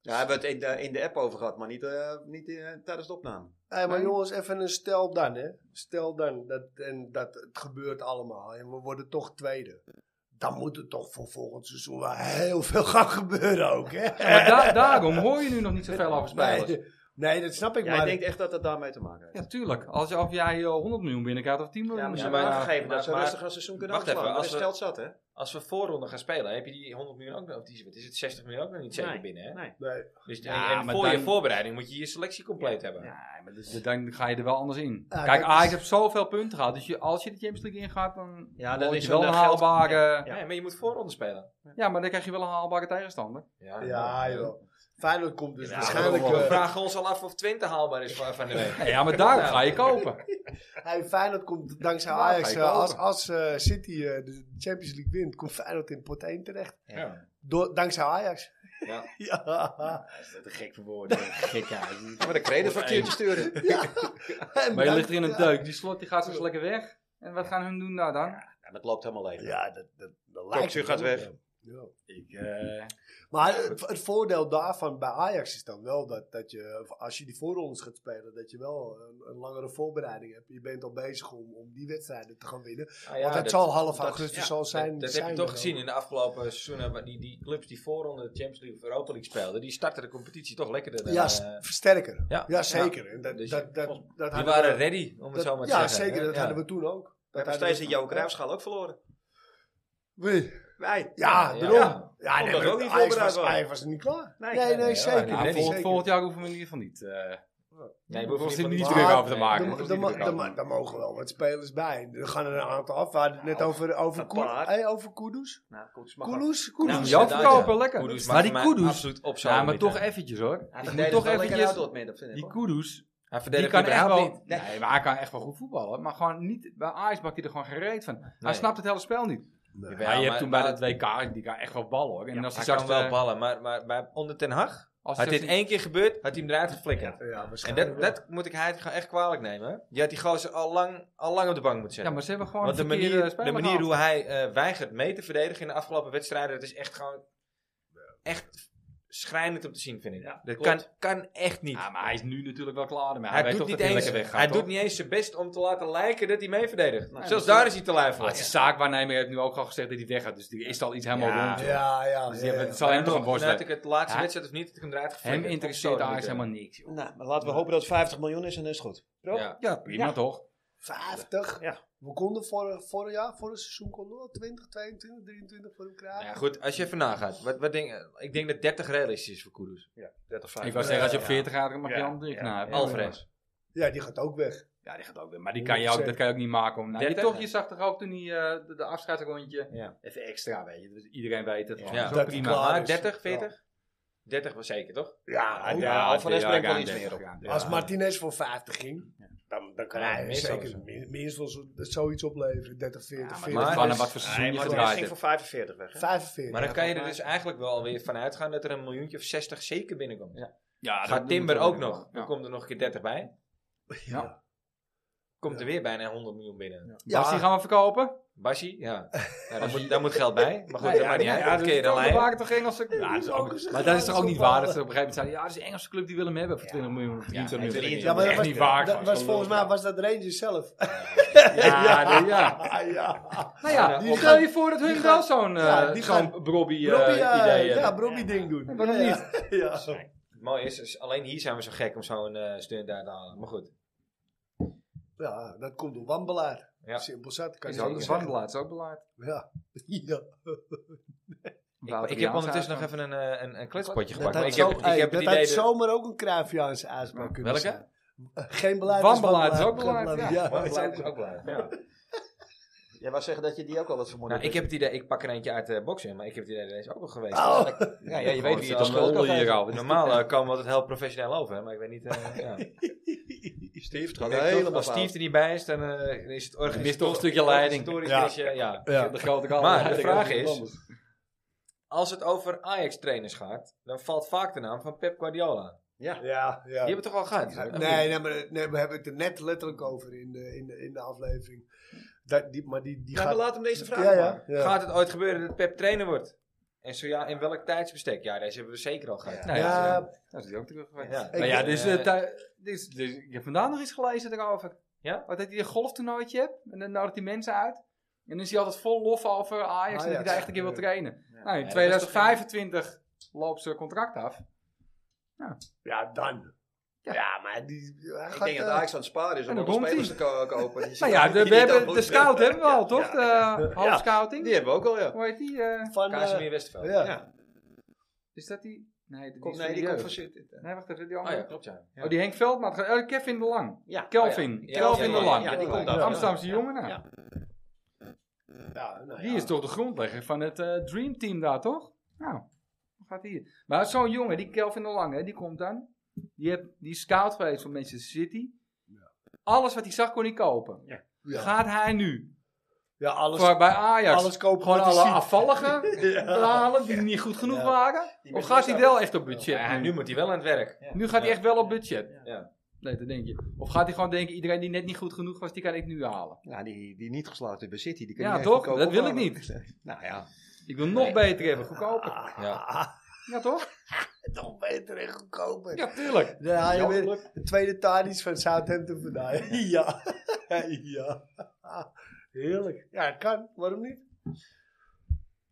G: Ja, hebben we het in de, in de app over gehad, maar niet, eh, niet eh, tijdens de opname.
C: Hey, maar jongens, even een stel dan, hè. Stel dan, dat, en dat het gebeurt allemaal en we worden toch tweede. Dan moet er toch voor volgend seizoen wel heel veel [LAUGHS] gaan gebeuren ook, hè.
D: Maar da- daarom hoor je nu nog niet zoveel over spelers.
C: Eh. [LAUGHS] Nee, nee, dat snap ik,
G: Ja, ik
C: maar...
G: denk echt dat dat daarmee te maken heeft.
D: Ja, tuurlijk. Als, of jij eh, 100 miljoen binnenkrijgt of 10 miljoen.
G: Ja, maar ze
A: Ja,
G: hebben
A: maar-
G: aangegeven
A: maar-
G: dat ze
A: maar-
G: rustig een seizoen kunnen
A: wacht even,
G: afslaan. Er
A: als
G: is
A: we-
G: geld zat, hè?
A: Als we voorronde gaan spelen, heb je die 100 miljoen ook nog, of die, wat is het, 60 miljoen ook nog niet zeker
G: Nee,
A: binnen, hè?
G: Nee.
C: Nee.
A: Dus,
D: Ja,
A: en en
D: maar
A: voor je
D: dan-
A: voorbereiding moet je je selectie compleet hebben.
D: Ja, maar dus, dan ga je er wel anders in.
C: Ja,
D: Kijk,
C: kijk,
D: Ajax
C: dus-
D: heeft zoveel punten gehad. Dus je, als je de Champions League ingaat, dan
G: Ja,
D: word
G: dat
D: je
G: is
D: wel
G: wel
D: een
G: geld.
D: haalbare...
A: Nee, maar je moet voorronde spelen.
D: Ja, maar dan krijg je wel een haalbare tegenstander.
A: Ja,
C: Ja, joh. Feyenoord komt dus
A: Ja,
C: waarschijnlijk...
A: we
C: eh,
A: vragen ons al af of Twente haalbaar is van, van de
C: [LAUGHS]
A: week.
D: Ja, maar daarom ga je kopen. [LAUGHS]
C: Hey, Feyenoord komt dankzij
D: Nou,
C: Ajax.
D: kijk,
C: eh, als
D: open.
C: als eh, City eh, de Champions League wint, komt Feyenoord in pot 1 terecht.
A: Ja.
C: Door, dankzij Ajax.
A: Ja.
C: [LAUGHS] ja.
J: Dat is dat een gek verwoorden. Gek eigenlijk.
H: Maar dan kreeg je een factuurtje sturen.
C: En
D: Maar je
C: dan-
D: ligt er in een
C: ja.
D: deuk. Die slot die gaat zo eens lekker weg. En wat gaan hun doen daar dan?
B: Ja, dat loopt helemaal leeg.
C: Ja, dat, dat, dat lijkt
H: Koksu
C: me
H: gaat
C: wel,
H: weg.
C: ja. Ja.
J: Ik,
A: Ah,
J: eh,
H: [LAUGHS]
C: Maar het, het voordeel daarvan bij Ajax is dan wel dat, dat je, als je die voorrondes gaat spelen, dat je wel een, een langere voorbereiding hebt. Je bent al bezig om, om die wedstrijden te gaan winnen.
A: Ah ja,
C: Want het
A: dat-
C: zal half
A: dat-
C: augustus
A: ja,
C: zal zijn.
A: Dat, dat
C: zijn
A: heb je
C: dan.
A: toch gezien in de afgelopen seizoenen. waar Die, die clubs die voorronde de Champions League of Europa League speelden, die startten de competitie toch lekkerder dan...
C: Ja,
A: eh,
C: s- versterker.
A: ja.
C: Ja, zeker. En dat,
A: Dus
C: dat, dat, dat
A: die
C: hadden
A: waren
C: we-
A: ready, om het
C: dat-
A: zo maar te
C: Ja,
A: zeggen.
C: zeker. Dat
A: Ja.
C: hadden we toen ook.
H: We hebben
C: hadden
H: steeds
C: we
H: de
C: toen
H: Jouw
C: ook.
H: Cruijffschaal ook verloren.
C: Wie?
H: Wij.
C: Ja,
A: Ja,
C: Ah, daarom.
A: ja.
C: Ja, nee,
H: Omdat
C: maar
H: ook niet
C: Ajax
H: voorbereid
C: was,
H: waren.
C: Ajax was niet klaar.
H: Nee,
C: Nee, nee,
A: nee,
C: zeker.
A: nee,
D: Nou,
A: nee,
C: nee,
D: vol-
C: zeker.
D: volgend jaar hoeven we in ieder geval niet. eh,
A: Nee, we
D: We
A: hoeven
D: hoeven er
A: niet
D: niet
A: van-
D: druk
A: Maar-
D: over te maken.
A: Nee,
D: Dat
C: Er
D: is
C: daar
D: niet
C: ma-
D: druk
C: daar
D: over.
C: ma- daar mogen wel wat spelers bij. Er gaan er een aantal af. We hadden het net over, over,
H: een
C: Koen-
H: paar.
C: hey, over Kudus.
H: Nou, goed, mag wel.
C: Kudus?
A: Nou,
C: Kudus.
D: jou
A: inderdaad,
D: verkopen,
A: ja.
D: lekker.
A: Kudus
D: Maar
A: mag
D: die
A: mij
D: Kudus-
A: absoluut op zo'n
D: Ja, maar
A: moment,
D: toch
A: hè.
D: eventjes hoor.
H: Hij
D: Ik moet
H: verdedigt
D: toch
H: wel lekker
D: eventjes...
H: uit door het midden, vind ik
D: Die
H: wel.
D: Kudus,
A: Hij
D: die
A: verdedigt
D: kan echt
A: überhaupt
D: wel...
A: niet.
D: Nee, maar hij kan echt wel goed voetballen. Maar gewoon niet... Bij Ajax bak je er gewoon gereed van.
A: Nee.
D: Hij snapt het hele spel niet.
A: Jawel,
D: Maar je hebt toen bij
A: maar-
D: dat WK, die kan echt wel ballen hoor. En als hij
A: Hij
D: straks
A: kan wel
D: eh,
A: ballen, maar, maar, maar onder Ten Hag, had
D: als hij
A: dit
D: straks niet-
A: één keer gebeurd, had hij hem eruit geflikkerd.
C: Ja,
A: En
C: waarschijnlijk
A: dat,
C: wel.
A: dat moet ik hij gewoon echt kwalijk nemen. hè. Je had die gozer al lang, al lang op de bank moeten zetten.
D: Ja, maar ze hebben gewoon
A: Want de
D: een verkeerde
A: manier,
D: speler
A: de manier
D: gehaald.
A: hoe hij eh, weigert mee te verdedigen in de afgelopen wedstrijden, dat is echt gewoon echt schrijnend om te zien, vind ik.
H: Ja,
A: dat kan,
H: klopt.
A: kan echt niet.
D: Ja, maar hij is nu natuurlijk wel klaar ermee. Hij,
A: hij
D: weet
A: doet,
D: toch
A: niet
D: dat hij
A: eens,
D: lekker weggaat.
A: hij
D: toch?
A: doet niet eens zijn best om te laten lijken dat hij mee verdedigt. Zelfs daar is hij te lui
D: Maar
A: voor.
D: Ah, het is zaakwaarnemer heeft nu ook al gezegd dat hij weggaat. Dus die is al iets helemaal
A: Ja.
D: rond. joh.
C: Ja, ja.
D: Dus
C: ja,
D: die hebben
C: ja.
D: het zal hem toch een
A: nog,
D: borst
A: vanuit ik het laatste
D: Hij-
A: wedstrijd of niet, dat ik hem eruit geflikkerd.
D: Hem interesseert
A: Zo,
D: Ajax
A: dat ik, eh,
D: helemaal niks. joh.
B: Nou, maar laten we hopen dat het 50 miljoen is en dan is het goed.
A: Ja.
D: Ja, prima
H: Ja.
D: toch?
C: 50.
H: Ja.
C: We konden vorig, vorig jaar, vorig seizoen konden we wel 20, 22, 23 voor hem krijgen.
A: Nou ja, goed, als je even nagaat. Wat, wat denk, ik denk dat 30 realistisch is voor Kudus.
H: 30,
D: Ik
H: 50.
D: wou zeggen, als je op 40 gaat, dan mag je
H: Ja.
D: handen dicht. Nou,
A: Alvarez.
C: Ja, die gaat ook weg.
D: Ja, die gaat ook weer. Maar die kan je ook, dat kan je ook niet maken. Om, nou, je,
A: 30?
D: toch, je zag toch ook toen die, eh, de, de afscheidsrondje.
A: Ja.
D: Even extra, weet je. Dus iedereen weet het.
A: Ja.
D: Ja,
C: Dat is
D: prima.
C: klaar.
A: Maar
C: dus-
A: 30, 40? 30 was zeker, toch?
C: Ja, ook.
H: Ja, Alvarez brengt wel
D: ja,
H: iets
D: ja,
H: meer op.
D: ja, ja.
C: Als Martinez voor 50 ging, dan, dan kan
A: Ja,
C: hij
A: minstens
C: zeker
A: zo.
C: min- minstens zo- zoiets opleveren. 30, 40,
D: Ja, maar
C: 40.
D: dat
A: Maar-
D: kan wat voor seizoen
H: Nee,
D: je
H: maar het
D: gedraaid
H: ging
D: hebt.
H: voor 45 weg. hè?
C: 45.
A: Maar dan kan je er dus eigenlijk wel weer vanuit gaan dat er een miljoentje of 60 zeker binnenkomt.
D: Ja, dat
A: Gaat
D: moet
A: Timber
D: wel
A: ook
D: weer.
A: nog? Dan
D: Ja.
A: komt er nog een keer 30 bij.
D: Ja.
A: Komt er weer bijna 100 miljoen binnen. Ja.
C: Ja.
D: Bas, die gaan we verkopen?
A: Basie, ja. ja daar, moet, daar moet geld bij. Maar goed,
D: Nee,
A: dat maakt niet uit.
D: ja, dus
A: Dat kun je dan
D: dat- dat
A: leiden.
D: waren toch Engelse Ja, dat is ook-
C: een
D: Maar dat is toch ook niet waar dat
C: gevaarlijke
D: ze op een gegeven moment zeiden: ja, dat is een Engelse club die willen hem hebben voor 20 miljoen of 23
A: Ja,
D: miljoen.
C: Ja, maar dat
D: echt
C: was,
D: niet waar.
C: dat
D: gewoon.
C: was volgens mij was dat Rangers zelf. [LAUGHS]
D: Ja, nee, ja.
C: Ah, ja.
D: Nou ja,
C: Die
D: stel
C: gaan-
D: je voor dat hun wel zo'n
C: ja,
D: eh,
C: die
D: zo'n
C: gaan-
D: Brobby
C: Robbie, eh,
D: idee
C: ja,
D: hebben.
C: Robbie ding doen.
D: waarom
C: Ja, [LAUGHS] Ja. Ja.
A: Mooi is, is, alleen hier zijn we zo gek om zo'n eh stunt uit te halen. Maar goed.
C: Ja, dat komt door wanbeleid.
A: Ja.
C: Simpel zat, kan
D: Is
C: je
D: ook
C: ook
D: een
C: zeggen.
D: wandelaar, is ook beleid.
C: Ja. [LAUGHS] ja.
A: Ik, ik heb ondertussen nog even een, eh, een, een kletspotje
C: Dat
A: gepakt. maar
C: had,
A: Ik
C: zo,
A: heb, ik
C: hey,
A: heb
C: dat
A: het
C: had
A: idee... dat-
C: zomaar ook een Cruyffiaanse uitspraak kunnen
A: Welke?
C: zijn. Eh, Geen beleid
D: Wanbeleid
C: is
D: is ook
C: wanbeleid.
D: beleid,
C: Ja,
A: Maar
C: dat
A: blij-
C: is ook-
A: Oh, ook blij. Ja.
B: Jij wou zeggen dat je die ook al wat vermoeid
A: Nou, ik heb het idee, ik pak er eentje uit de boxen, maar ik heb het idee dat deze ook wel geweest is.
C: Oh.
A: Ja, ja, je weet wie het is.
D: schuldig hier al.
A: Normaal eh, komen we altijd heel professioneel over, hè, maar ik weet niet. eh,
C: [LAUGHS]
A: ja. Ik
H: Steve, het
A: denk
H: gaat
A: toch,
H: helemaal
A: Als Steve
H: fout.
A: er niet bij is, dan eh, is het
D: Je
A: organisatorisch.
D: mist toch een stukje leiding.
A: organisatorisch
C: Ja.
A: is je- ja.
C: Ja.
D: De grote kant.
A: Maar de vraag is, als het over Ajax-trainers gaat, dan valt vaak de naam van Pep Guardiola.
C: Ja, ja.
A: Die hebben we toch al gehad?
C: Nee, nee, maar, nee, we hebben het er net letterlijk over in de, in de, in de aflevering. Dat, die, maar die, die
H: Ja, maar
C: gaat...
H: laat hem deze vraag
C: ja, ja,
H: maken.
C: ja.
A: Gaat het ooit gebeuren dat Pep trainer wordt? En zo ja, in welk tijdsbestek? Ja, deze hebben we zeker al gehad. Nou
C: ja,
D: Dat is die ook terug geweest.
A: Ja.
D: Maar ja, dus,
A: Eh,
D: eh, thui- dus, dus ik heb vandaag nog iets gelezen daarover.
A: Ja?
D: Wat dat hij een golftoernooitje hebt en dan nodigt hij mensen uit. En dan is hij altijd vol lof over Ajax, en dat hij
C: Ajax,
D: daar echt een keer wil
C: ja.
D: trainen. Nou,
A: Ja,
D: in
A: dat is toch
D: 2025 loopt zijn contract af.
C: ja, dan.
D: Ja.
C: Ja, maar die... Hij
H: Ik
C: gaat,
H: denk dat
C: eh,
H: Ajax aan het sparen is
D: en
H: om
D: dan
H: nog
D: komt
H: spelers te ko- kopen. Die
D: Nou
H: zitten-
D: ja,
H: die
D: de,
H: niet
D: we
H: aan
D: hebben,
H: het
D: de scout hebben we al, toch?
H: Ja,
D: De eh, hoofdscouting.
H: Die hebben we ook al, ja.
D: Hoe heet die? eh,
C: van, eh,
A: Casimir Westerveld.
C: ja.
H: Ja.
D: is dat die? Nee, die,
H: Komt-
D: is
H: nee, die komt
D: jeugd.
H: van City.
D: Nee, wacht even, die
A: Oh
D: andere.
A: ja,
D: Oh,
A: klopt ja.
H: ja.
D: die Henk Veldmaat. eh, Kevin de Lang.
H: Ja.
D: Kelvin.
A: Oh ja. Ja,
D: Kelvin
A: ja,
D: de
A: ja,
D: Lang.
H: ja, die komt
D: daar.
H: daar.
D: Amsterdamse jongen. nou.
H: Ja.
C: Ja, nou
D: Die
C: ja.
D: is toch de grondlegger van het eh Dream Team daar, toch? Nou, gaat hier. Maar zo'n jongen, die Kelvin de Lange, hè, die komt dan. Die, heb, die is scout geweest van Manchester City. Alles wat hij zag kon hij kopen.
C: Ja.
D: Gaat hij nu
C: Ja, alles,
D: voor, bij Ajax
C: alles kopen
D: gewoon
C: wat hij
D: alle
C: ziet.
D: afvalligen
C: Ja.
D: halen die niet goed genoeg
C: Ja.
D: waren? Of gaat hij wel echt op budget?
A: Ja, nu moet hij wel aan het werk.
D: Nu gaat hij echt wel op budget.
A: Ja.
D: Nee, dat denk je. Of gaat hij gewoon denken, iedereen die net niet goed genoeg was, die kan ik nu halen.
B: Nou, die, die niet geslaagd is bij City, die kan
D: Ja,
B: niet
D: toch?
B: goedkoop
D: Dat wil
B: ophalen.
D: ik
B: nou ja.
D: Ik wil nog beter hebben, goedkoper.
A: Ja.
D: Ja, toch?
C: Nog beter en goedkoper.
D: Ja, tuurlijk.
C: Ja, je bent de tweede Tadic van Southampton vandaag. [LAUGHS] Ja. ja. Heerlijk. Ja, het kan. Waarom niet?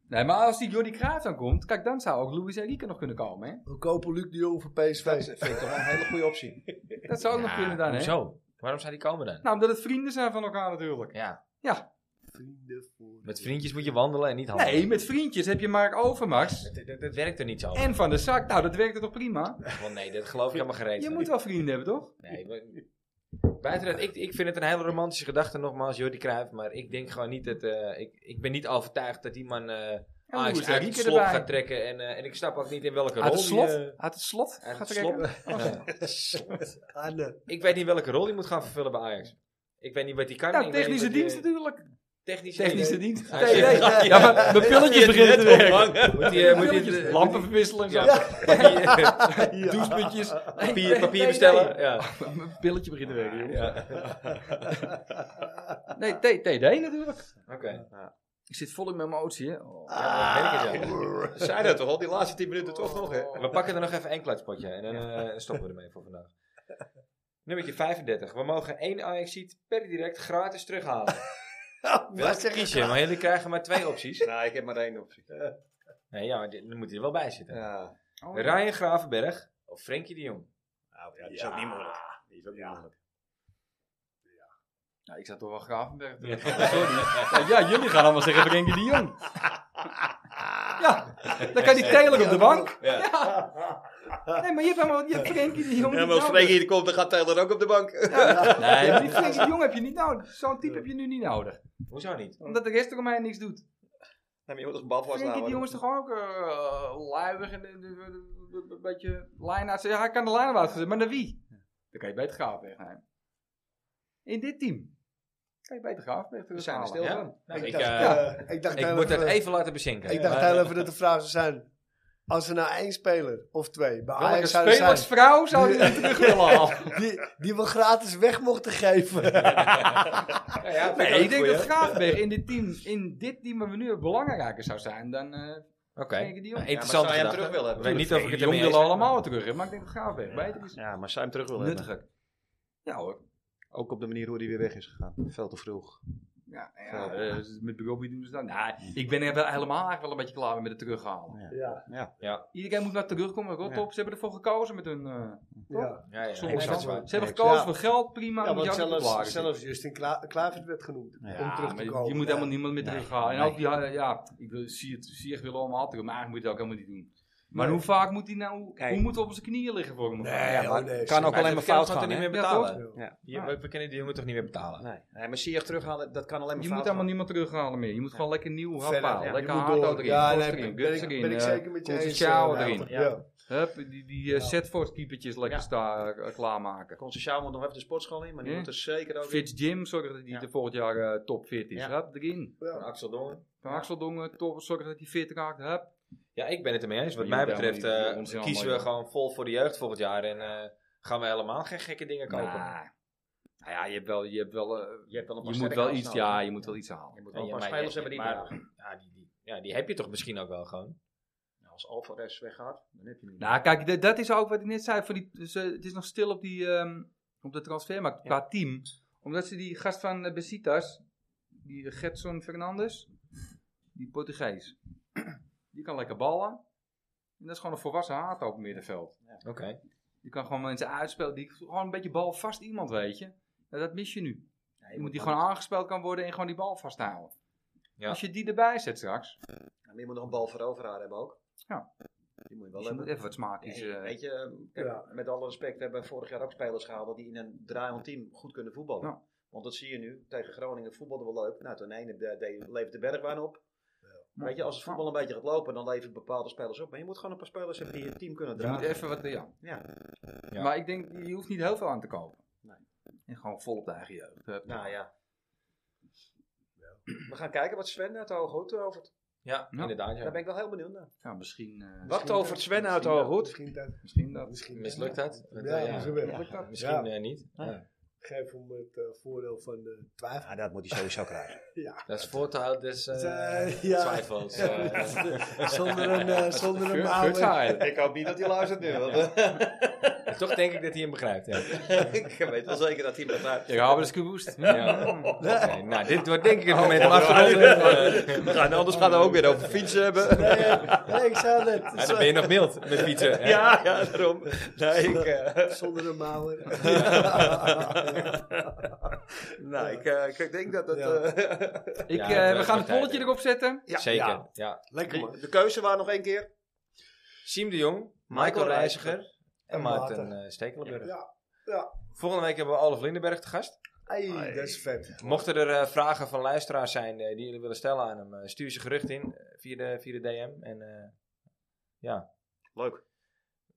D: Nee, maar als die Jordi Cruijff dan komt, kijk, dan zou ook Luis Enrique nog kunnen komen, hè?
C: We kopen Luc de Jong voor PSV.
B: Dat vind ik toch wel een hele goede optie.
D: Dat zou ook nog kunnen dan, hè?
A: Zo. Waarom zou die komen dan?
D: Nou, omdat het vrienden zijn van elkaar natuurlijk.
A: Ja.
C: Vrienden voor...
A: Met vriendjes moet je wandelen en niet handelen.
D: Nee, met vriendjes heb je Mark Overmars
A: Dat, dat- dat werkt er niet zo.
D: en Van der Zak. Nou, dat werkte toch prima?
A: Want nee, dat geloof ik helemaal gereed.
D: Je moet wel vrienden hebben, toch?
A: Nee, we- buiten dat, ik, ik vind het een hele romantische gedachte, nogmaals, Jordi Cruijff. Maar ik denk gewoon niet dat... eh, ik, ik ben niet overtuigd dat die man eh
D: En
A: Ajax
D: Luis
A: uit het
D: Enrique
A: slop
D: erbij.
A: gaat trekken. En, eh, en ik snap ook niet in welke
D: Uit
A: rol
D: het slot?
A: die, eh,
D: Uit het slot?
A: uit
D: Gaat Oh.
A: het
D: er
A: slop.
D: kijken?
A: Ja.
C: Anne.
A: [LAUGHS] Ik weet niet welke rol hij moet gaan vervullen bij Ajax. Ik weet niet wat hij kan.
D: Nou,
A: Ik weet
D: technische
A: niet wat
D: dienst
A: hij-
D: natuurlijk.
A: Technische,
D: Technische
A: dienst.
D: dienst.
A: Ja,
D: Nee, nee.
A: ja.
D: [LAUGHS] Ja, maar mijn pilletjes beginnen te werken.
A: Moet hij, eh, moet hij,
D: Pilletjes,
A: eh,
D: Lampen verwisselen en zo. [LAUGHS]
A: papier, [LAUGHS]
D: Doucheputjes.
A: papier, papier bestellen. Ja.
D: Mijn pilletje begint te werken, jongens. [LAUGHS] Nee, T- TD natuurlijk.
A: Oké.
D: Ik zit vol in mijn emotie, hè. Oh.
A: Ja, dat merk ik wel.
D: Ah.
H: Zei dat toch al, die laatste 10 minuten toch nog, hè?
D: Oh.
A: We pakken er nog even één kluitspotje en dan eh, stoppen we ermee voor vandaag. Nummertje 35. We mogen één Ajax-seat per direct gratis terughalen. Welke kies je? Maar jullie krijgen maar twee opties.
H: Nou, ik heb maar één optie.
A: Nee, ja, maar dit- dan moet hij er wel bij zitten.
H: Ja.
D: Oh, ja.
A: Ryan Gravenberg of Frenkie de Jong?
H: Nou, ja, die is ook niet moeilijk. Die is ook niet moeilijk.
D: Nou, ik zou toch wel Gravenberg doen. Sorry. Ja, ja, jullie gaan allemaal zeggen Frenkie de [LAUGHS] Jong. Ja, dan kan die Taylor op de bank. Ja. Nee, maar je hebt helemaal je hebt Frenkie de Jong
H: Ja,
D: niet nou
H: maar als
D: nodig.
H: Frenkie komt, dan gaat Taylor ook op de bank.
D: Nee, maar die Frenkie de Jong heb je niet nodig. Zo'n type heb je nu niet nodig.
A: Hoezo niet?
D: Omdat de rest eromheen niks doet.
H: Nee, maar je moet toch een bal
D: Frenkie de
H: vasthouden?
D: Jong is toch ook eh luiwig en en- en- en- een beetje lijn uit. Ja, hij kan de lijn uit zetten, maar naar wie? Dan kan je beter Graafberg nemen. In dit team. Kan je beter Graafberg
B: We zijn er stil
D: terughalen.
B: van.
A: Ja? Nou, ik,
C: dacht,
A: eh,
C: eh, ik dacht
A: ik
C: heel
A: moet dat
C: even-
A: even laten bezinken.
C: Ik dacht
A: Maar,
C: heel even dat de vraag zou zijn. Als er nou één speler of twee bij
D: Welke
C: Ajax zouden zijn...
D: spelersvrouw zou je terug willen halen?
C: Die, die we gratis weg mochten geven.
A: nou ja, vind
D: Nee,
A: ook
D: ik denk
A: goed,
D: dat
A: hè?
D: Graafberg in dit team, in dit team wat we nu hebben, belangrijker zou zijn dan eh
A: Oké.
D: Frenkie de Jong.
A: Nou, Interessant.
H: Ja, maar zou je hem
A: gedachte.
H: terug willen hebben?
A: Ik weet niet of ik het
D: de Jong
A: ermee eens
D: willen allemaal terug hebben, maar ik denk dat Graafberg beter is.
H: Ja, maar zou je hem terug willen hebben?
D: Nuttiger. Ja hoor.
H: Ook op de manier hoe hij weer weg is gegaan. Veel te vroeg.
D: Ja, ja eh, met Bobby doen ze dat. Nou, ik ben er wel helemaal eigenlijk wel een beetje klaar mee met het terughalen.
C: Ja.
D: Iedereen moet naar terugkomen, rot
H: Ja.
D: op. Ze hebben ervoor gekozen met hun... eh,
C: ja.
A: Ja, ja,
D: soms
A: nee,
D: zo.
A: dat is
D: ze
A: waar.
D: hebben gekozen
C: Ja.
D: voor geld, prima.
C: Ja,
D: moet je
C: want
D: ook niet
C: zelfs,
D: beklagen.
C: zelfs Justin Kla Klavert werd genoemd
H: Ja,
C: om terug
D: Maar
C: te
D: je-
C: komen.
D: je moet helemaal
C: Ja.
D: niemand meer
H: Nee.
D: terughalen. En
H: Nee.
D: ook, die, ja, ja, ik wil, zie het, zie echt willen allemaal terug, maar eigenlijk moet je dat ook helemaal niet doen. Maar hoe vaak moet hij nou,
H: Kijk.
D: hoe moet hij op zijn knieën liggen voor hem?
C: Nee,
H: Ja,
C: oh,
H: maar
C: nee,
H: kan
C: ze-
H: ook alleen maar fout gaan,
A: niet
H: hè?
A: meer
D: Ja,
A: betalen.
C: toch?
A: Je- we- We kunnen die jongen toch niet meer betalen.
H: Nee. nee, maar Ziyech terughalen, dat kan alleen maar
D: Je moet
H: fout
D: helemaal
H: gaan.
D: niemand terughalen meer. Je moet gewoon lekker nieuw
C: Verder,
D: happaal.
H: ja.
D: Lekker
C: Je moet
D: hard
C: door.
D: erin.
C: Ja,
D: Ja,
C: nee,
D: erin.
C: ben
D: Guts
C: ik-
D: erin.
C: ben ik
D: eh,
C: zeker met je eens,
D: Conceição
C: eh,
D: erin.
C: Ja. Ja.
D: Hup, die, die eh, Setford keepertjes lekker
H: Ja.
D: sta, eh, klaarmaken.
H: Concessiaal moet nog even de sportschool in, maar die
D: Ja.
H: moet er zeker ook in.
D: Fitz Jim, zorg dat hij
H: Ja.
D: er volgend jaar eh, top fit is.
H: Ja.
D: Hup, erin.
A: Van Axel Dongen.
D: Van Axeldongen, top, zorg dat hij fit raakt. Hup.
A: Ja, ik ben het ermee eens. Wat
D: Je
A: mij
D: moet
A: betreft
D: helemaal niet-
A: eh,
D: onzin
A: kiezen we
D: allemaal,
A: gewoon vol voor de jeugd volgend jaar. En eh, gaan we helemaal geen gekke dingen kopen.
D: Maar, nou ja, je hebt wel, je hebt wel, eh,
H: Je hebt wel een
D: je
H: paar
D: moet
H: sterke
D: wel iets,
H: aansnellen.
D: ja, je moet wel iets halen.
H: Je moet
A: Ja,
H: wel een
A: ja,
H: paar
A: maar-
H: spelers hebben die
A: maar-
H: daar-
A: ja, die, die, ja, die heb je toch misschien ook wel gewoon.
H: Nou, Als Alvarez weggaat, dan heb je niet.
D: Nou, kijk, d- dat is ook wat ik net zei. Voor die, dus, eh, het is nog stil op, die, ehm, op de transfermarkt qua team. Omdat ze die gast van eh, Besiktas, die Getson Fernandes, die Portugees, [CLEARS THROAT] die kan lekker ballen. En dat is gewoon een volwassen haat op het middenveld.
A: Oké.
D: Die kan gewoon mensen uitspelen. Die, gewoon een beetje balvast iemand, weet je. Nou, dat mis je nu.
H: Ja,
D: Iemand die gewoon aangespeeld kan worden en gewoon die bal vasthouden.
A: Ja.
D: Als je die erbij zet straks,
H: Ja, maar je moet nog een bal voor overhaal hebben ook.
D: Ja.
H: Die moet je wel
D: dus je moet
H: hebben.
D: even wat smaakjes...
H: Ja,
D: eh,
H: Weet je, kijk,
C: Ja.
H: met alle respect, we hebben vorig jaar ook spelers gehaald die in een draaiend team goed kunnen voetballen.
D: Ja.
H: Want dat zie je nu. Tegen Groningen voetbalden we leuk. Nou, ten ene de, de, levert de Bergwijn op.
G: Weet je, als het voetbal een beetje gaat lopen, dan levert bepaalde spelers op. Maar je moet gewoon een paar spelers hebben die je team kunnen
D: Je moet
G: dragen.
D: even wat, ja.
G: Ja.
A: Ja.
D: Maar ik denk, je hoeft niet heel veel aan te kopen. En gewoon vol op de eigen jeugd. Hup.
G: Nou ja. We gaan kijken wat Sven uit de Hoge Hoed tovert.
A: Ja,
D: Ja.
A: inderdaad.
G: Daar
A: Ja.
G: ben ik wel heel benieuwd naar.
D: Ja, misschien, eh,
G: Wat tovert Sven uit de Hoge Hoed?
C: Misschien dat.
D: misschien dat.
C: Misschien
A: Mislukt dat?
C: Ja,
A: Dat, eh, ja.
C: zo werkt
A: Ja,
C: het. Ja.
A: Misschien eh, niet. Ja.
C: Geef hem het eh, voordeel van de twijfel.
K: Ah,
G: dat moet hij sowieso krijgen.
A: Dat is voortouw des eh,
C: Eh, ja.
A: twijfels. eh.
C: [LAUGHS] zonder een, eh, zonder een oude.
G: Ik hoop niet dat hij luistert nu. want,
A: Toch denk ik dat hij hem begrijpt. Ja.
G: eh, [LAUGHS] ik weet wel zeker dat hij hem gaat
D: Ja, maar dat is gewoest.
A: Ja. Oké, nou, dit wordt denk ik het moment om af te ronden. Eh,
K: We gaan, anders gaan we ook weer over fietsen hebben.
C: Nee, eh, nee, ik zei [LAUGHS] het
A: ja,
C: net.
A: dan ben je nog mild met fietsen. hè?
K: Ja, ja, daarom. Nee, ik,
C: [LAUGHS]
K: eh,
C: Zonder een mouwen.
K: nou, ik, eh, ik denk dat dat...
C: Ja.
K: eh,
D: Ik,
A: Ja,
D: eh,
A: het was
D: we gaan het
A: partij,
D: polletje
A: ja.
D: erop zetten.
C: Ja,
A: Zeker.
C: ja.
A: Ja.
C: Lekker man.
K: de keuze waar nog één keer.
A: Siem de Jong, Michael Reiziger en
C: En
A: Maarten
C: Maarten.
A: eh, Stekelenburg.
C: Ja, ja.
A: Volgende week hebben we Olaf Lindenberg te gast.
C: Hey, dat is vet.
A: Mochten er eh, vragen van luisteraars zijn eh, die jullie willen stellen aan hem, eh, stuur ze gerucht in eh, via, de, via de DM. En eh, ja.
K: Leuk.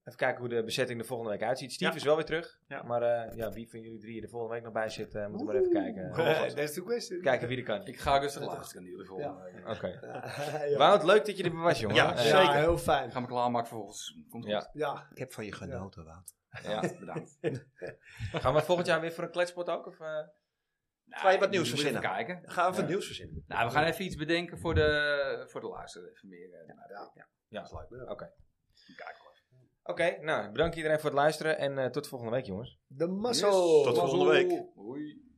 A: Even kijken hoe de bezetting er volgende week uitziet. Steve
K: Ja.
A: is wel weer terug.
K: Ja.
A: Maar eh, ja, wie van jullie drie er volgende week nog bij zit, eh, moeten we maar even kijken. Eh,
C: Dat is de question.
A: [LAUGHS] Kijken wie er kan.
D: Ik ga rustig luisteren in ieder geval.
C: Ja.
D: Ik
A: Oké.
C: Ja, ja.
A: Wout, leuk dat je er weer was, jongen.
K: Ja,
A: Eh,
C: Ja,
K: Zeker.
C: heel fijn.
D: ga me klaarmaken volgens. Komt
A: Ja.
D: goed.
C: Ja,
G: Ik heb van je
C: genoten,
G: Wout.
A: ja.
D: Bedankt.
A: Gaan we volgend jaar weer voor een kletspot ook? Of, eh?
K: Ga je wat
D: Nou,
K: nieuws
D: moet je even
K: verzinnen?
D: kijken.
K: Gaan we van het nieuws verzinnen.
D: Nou, we gaan even iets bedenken voor de, voor de luisteraar. Even meer. eh,
A: Ja, dat is leuk. Oké. Oké, nou, bedankt iedereen voor het luisteren en eh, tot volgende week, jongens.
C: de muscle.
K: Tot volgende week.
D: Oei.